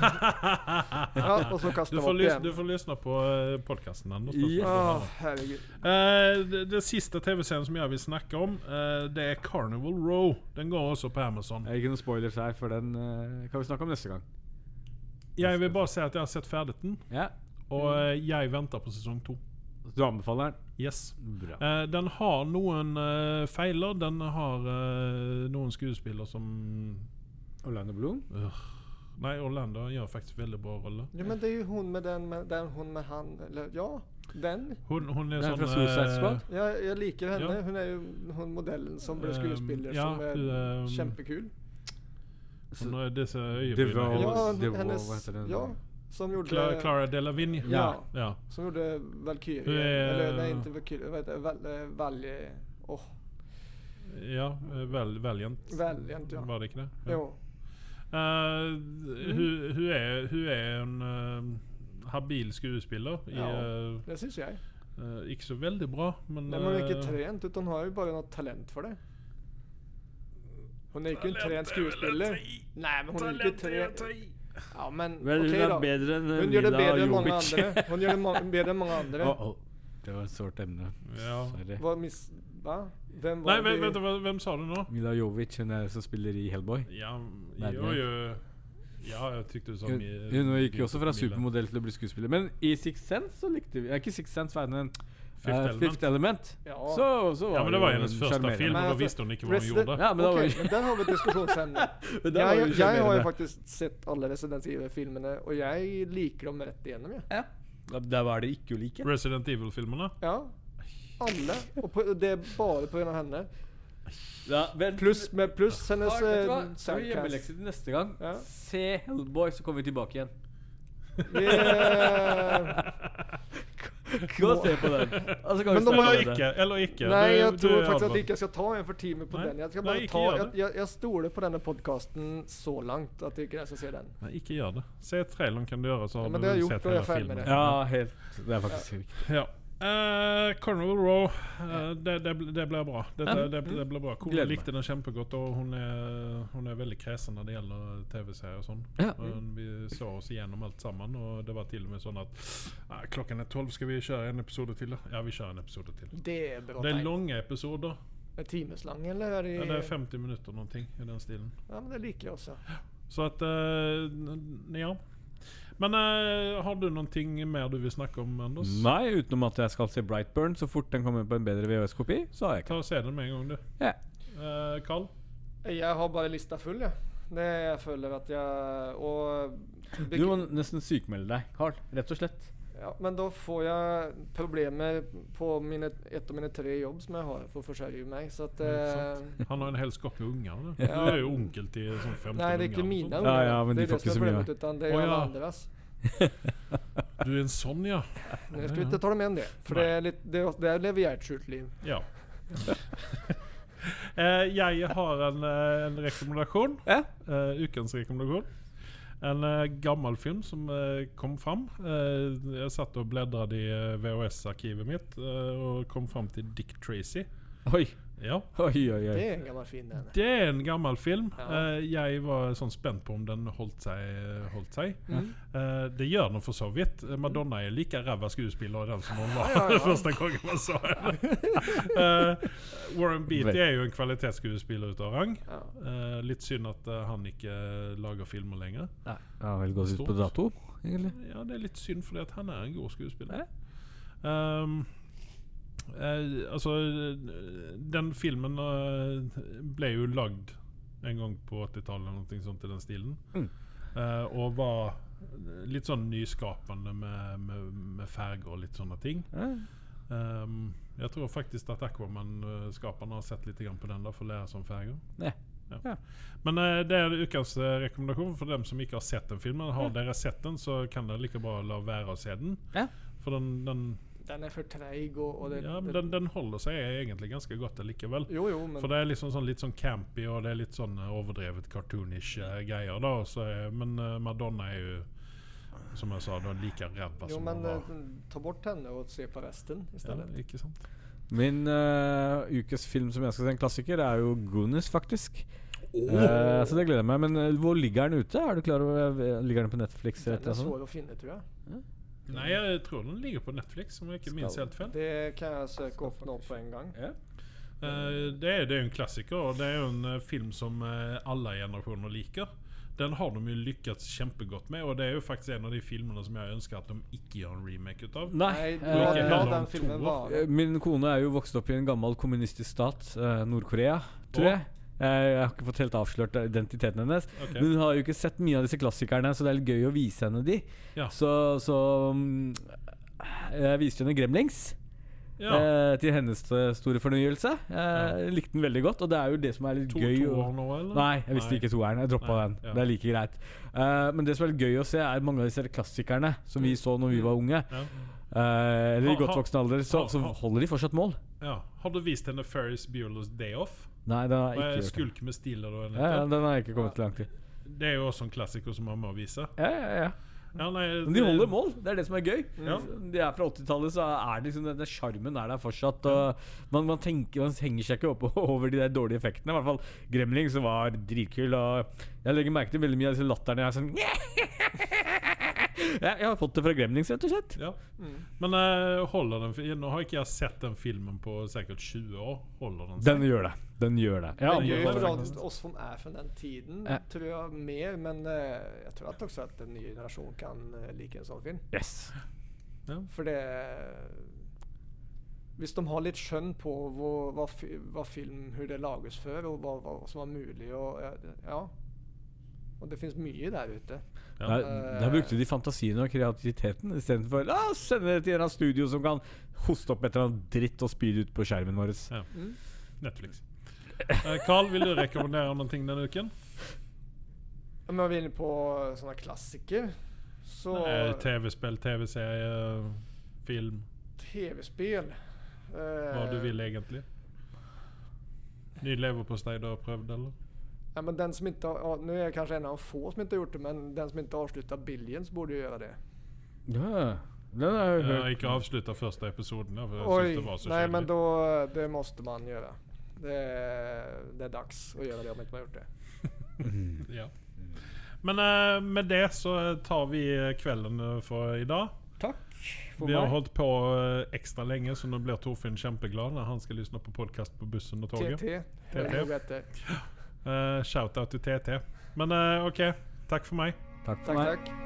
Ah!
ja, och så kastar
Du
vi
får,
upp
lys du
igen.
får lyssna på eh, podcasten Anders. då, så
Ja.
får du höra.
Ja, herregud.
Eh, det, det sista tv-serien som jag vill snacka om, eh, det är Carnival Row. Den går också på Amazon.
Er det ikke noen spoilers her, for den eh, kan vi snakke om neste gang.
Jag vill bara säga att jag har sett färdigt den
Ja.
och
Mm.
eh, jag väntar på säsong 2.
Så du anbefaler den?
Yes.
Bra.
Eh, den har noen eh, feiler. Den har eh, noen skuespiller som
Orlando Bloom?
Nei, Orlando gjør faktisk veldig bra rolle.
Ja, men det är ju hon med den, med den hon med han, eller ja, den.
Hun, hun er
Den er
sånn
fra Suicide
eh,
Squad?
Jag, jag likar henne.
Ja.
Hon är ju hon modellen som blev
Ehm,
skådespelare
ja,
som är
hon, ehm,
kämpekul.
Hun har disse
Devo-
øyebrynene.
Ja,
det var- vad
hennes,
heter den?
ja, som gjorde,
Clara, Clara Delavigne.
Ja.
ja.
Som gjorde Valkyrie.
Hur är-
Eller nej, inte Valkyrie. Vad heter det? Val, eh, Valje... Åh,
Ja, eh, val, Valiant.
Valiant ja.
Var det ikke det? Ja.
Jo. Mm.
Eh, hun, hun, er, hun er en eh, habil skuespiller. I,
Ja.
eh,
Det syns jag.
eh, ikke så veldig bra, men,
Nej, men hon är
eh,
inte trent, utan hon har ju bara något talent för det. Hon är ju inte en trent skådespelare. Nej, men hon är ju inte trent. Ja, men
Vel,
okej
hun er
då.
bedre enn eh,
Hon gör det
Mila
bättre än många
Jovic.
andra. Hon gör det ma- bättre än många andra.
Oh, oh. Det var et sårt emne.
ja.
Sorry.
Vad miss... Va? Vem var
Nei, vent,
det?
vent, hva- hvem sa du nå?
Mila Jovic, hun er som spiller i Hellboy.
Ja,
Bad
jo,
guy.
jo. Ja, jeg tykte du sa
Hun,
mye-
hun gikk jo
mye
også fra
Camilla.
supermodell til å bli skuespiller. Men i Six Sense så likte vi eh, Ikke Six Sense, hva er den?
Fifth
Fifth,
äh, Element.
Eh, Fifth Element.
Ja.
Så, så var
Ja, men det var
jo
hennes
en
første
sjarmerende-
film,
Men
og da
altså,
visste hun ikke hva hun
Resident-
gjorde.
Ja, men det var
Okej,
jo
men där har vi ett diskussionsämne.
Men det var
jag,
jo
jag, har ju
sjarmerende.
faktiskt sett alla Resident Evil-filmerna och jag liker dem rätt igenom. Ja.
Ja, Der var det ikke å like.
Resident Evil-filmene.
ja. Alla. Och på, det är bara på grund av henne.
Ja, vent.
Plus, med, plus
Ja,
hennes
vet du hva? Så
eh,
er det
soundcast.
hjemmelekse til neste gang.
Ja.
Se Hellboy, så kommer vi tilbake igjen.
Yeah.
Gå og se på den. Alltså, Og så kan vi
Men de
snakke
har
om det.
Eller ikke. Eller ikke.
Nej,
Det-
jag
du
tror
är
faktiskt att
advad.
jag inte ska ta en för timme på
Nej.
den. Jag ska
Nej,
bara
inte
ta,
gör
jag,
det.
jag, jag stole på den här podcasten så långt att jag tycker jag ska se den.
Nei, ikke gjør det. Se traileren kan du gjøre, så har
Ja, men
du
det har jeg
sett
gjort, og jeg
hele
er ferdig med
filmen.
det.
Ja, helt Det er faktisk riktig.
Ja. Eh, Carnival Raw, eh, det, det, bl- det blir bra. Det, det, det, det blir bra. Kona
Gleder meg.
likte den kjempegodt, og hun er, hun er veldig kresen når det gjelder TV-serier og sånn.
Ja.
Mm.
Men Vi så oss igjennom alt sammen, og det var til og med sånn at "Ah, klokken er tolv, skal vi kjøre en episode til? da?" Ja, vi kjører en episode til.
Det er bra
Det er
tegn.
lange episoder.
En timeslang, eller? Er det,
Ja,
ja,
det er 50 minutter någonting i den stilen.
men det liker jeg også.
Så at eh, n- Ja. Men eh, har du någonting mer du vil snakke om, Anders?
Nei, utenom at jeg skal se Brightburn så fort den kommer på en bedre VHS-kopi. Så har jeg ikke
Ta og Se den med en gang, du.
Ja.
Eh, Carl?
Jeg har bare lista full, jeg. Det jeg føler at jeg Og
Du må nesten sykmelde deg, Carl. Rett og slett.
Ja, men da får jeg problemer på mine, ett av mine tre jobb som jeg har for å forsørge meg. Så at
Ja,
eh,
Han har en hel skopp med unger. Du.
Ja.
du er jo onkel til sånn 15
Nei, det er ikke
unger,
mine
sånn.
unger.
Ja, ja, men
det er
de
det som
får ikke
er
så mye.
problemet, utan det er
Å,
alle
ja.
andres.
Du er en sånn, ja.
Men Jeg skulle ikke ta dem igjen det. For
Nei.
det er litt, det, er- der lever jeg et skjult liv.
ja. Eh, jeg har en, eh, en rekommendasjon.
Ja.
Eh, ukens rekommendasjon. En eh, gammel film som eh, kom fram. Eh, jeg satt og bladret i eh, VHS-arkivet mitt eh, og kom fram til Dick Tracy.
Oi,
Ja.
oi, oi.
Det
oi.
er en gammel fin en.
Det er en gammel film.
Ja.
Eh, jeg var sånn spent på om den holdt seg. Holdt seg.
Mm.
Eh, det gjør den for så vidt. Madonna er like ræva skuespiller den som hun var
Ja, ja, ja.
første gangen man så henne. Eh, Warren Beatty er jo en kvalitetsskuespiller ute av rang.
Ja.
Eh, litt synd at eh, han ikke lager filmer lenger.
Ja, vel gått ut på dato, egentlig.
Ja, det er litt synd, fordi at han er en god skuespiller. Ehm, eh, altså, eh, den filmen eh, ble jo lagd en gang på 80-tallet eller noe sånt i den stilen.
Mm.
Eh, og var litt sånn nyskapende med, med, med farger og litt sånne ting. Ehm, jeg tror faktisk at Aquaman-skaperne eh, har sett litt grann på den da, for å lære seg om farger.
Ja. Ja.
Men eh, det er ukens eh, rekommendasjon for dem som ikke har sett den filmen. Har dere sett den, så kan dere like bra la være å se den.
Ja.
For den, den,
Den er for treig, og, og det,
ja, men den, den holder seg egentlig ganske godt likevel.
Jo, jo, men
For det er liksom sånn, litt sånn campy og det er litt sånn eh, overdrevet cartoonish eh, greier. da og så er, Men eh, Madonna er jo, som jeg sa, da like ræva
Jo,
som
men
hun var.
eh, ta bort henne og se på resten i
Alltså, Ja,
stedet.
ikke sant?
Min eh, ukes film som jeg skal se, en klassiker, er jo Goonies, faktisk. Eh, så det gleder jeg meg. Men eh, hvor ligger den ute? Er du klar over Ligger den på Netflix? eller et
Den er
eller annet sånt?
svår å finne, tror jeg.
Nei, jeg tror den ligger på Netflix, om jeg ikke minst helt feil.
Det kan jeg søke opp nå på en gang.
Eh, det, er, det er jo en klassiker, og det er jo en eh, film som eh, alle generasjoner liker. Den har de jo lykkes kjempegodt med, og det er jo faktisk en av de filmene som jeg ønsker at de ikke gjør en remake ut av.
Nei.
Nei,
eh,
ikke
la, la
heller om
den
to
filmen
år.
vare.
Eh, Min kone er jo vokst opp i en gammel kommunistisk stat, eh, Nord-Korea, tror
Å.
jeg. Eh, Jeg har ikke fått helt avslørt eh, identiteten hennes.
Ok.
Men hun har jo ikke sett mye av disse klassikerne, så det er litt gøy å vise henne de.
Ja.
Så, så mm, Jeg viste henne Gremlings.
Ja,
eh, til hennes eh, store fornøyelse. Eh, Likte den veldig godt, og det er jo det som er litt
to
gøy. å-
toer nå, eller?
Nei, jeg visste
Nei.
ikke toeren. Jeg droppa
Nei,
den.
ja.
Det er like greit. Eh, men det som er litt gøy å se, er mange av disse klassikerne som vi så når vi var unge.
Ja.
Eh, eller i
Mm. Ha-
godt
ha-
voksen alder, så,
ha-
så
ha-
holder de fortsatt mål.
Ja. Har du vist henne Ferris Bueller's Day Off?
Nei, den har jeg
Med
ikke gjort.
Skulk med stiller og en
Ja, ja,
liten.
den har jeg ikke kommet langt i.
Det er jo også en klassiker som man må vise.
Ja, ja, ja.
Ja, nei,
Men de holder mål, det er det som er gøy.
Mm.
Ja.
De er fra 80-tallet, så er det liksom den- den sjarmen er der fortsatt. Og man, man, tenker, man henger seg ikke opp over de der dårlige effektene. I hvert fall Gremling, som var dritkul. Og jeg legger merke til veldig mye av disse latterne. Jeg, er sånn, jeg, jeg har fått det fra Gremlings, rett og slett.
Ja.
Mm.
Men eh, holder den fi- Nå har ikke jeg sett den filmen på sikkert 20 år. Holder den
Den gjør det. Den gjør det. Jeg
Det er gøy
anbefaler
for
den.
oss- oss som er fra den tiden,
Ja.
tror jeg mer. Men eh, jeg tror at også at den nye generasjonen kan eh, like en sånn film.
Yes.
For det Hvis de har litt skjønn på hvor, hva, fi- hva film Hvor det lages før, og hva, hva som er mulig, og eh, ja. Og det fins mye der ute.
Ja.
Der, der brukte de fantasien og kreativiteten istedenfor å «Ah, sende det til en eller annen studio som kan hoste opp et eller annet dritt og spy det ut på skjermen vår.
Netflix. Eh, Carl, vil du rekommendere noen ting denne uken?
Ja, Men er vi inne på sånne klassiker, så
Eh, TV-spill, TV-serie, film.
TV-spill Eh,
Hva du vil, egentlig. Ny leverpostei du har prøvd, eller?
Ja, men den som inte har, ja, nu är jag kanske en av få som inte har gjort det, men den som inte har avslutat Billions borde ju göra det.
Ja.
Den har jeg
Jeg har
hørt.
ikke avslutta første episoden. ja, For jeg synes
Mhm. Oj,
det var så
nej
kjedelig.
men då, det måste man göra. Det, det är dags att göra det om inte man gjort det.
Ja. Men eh, med det så tar vi eh, kvelden eh, for i dag.
Takk for
Vi har
meg.
holdt på eh, ekstra lenge, så nå blir Torfinn kjempeglad når han skal lytte på podkast på bussen og toget.
TT, hör
TT.
nog efter.
Eh, Shout-out til TT. Men eh, OK, takk for meg.
Takk
Tack,
for meg.
tack.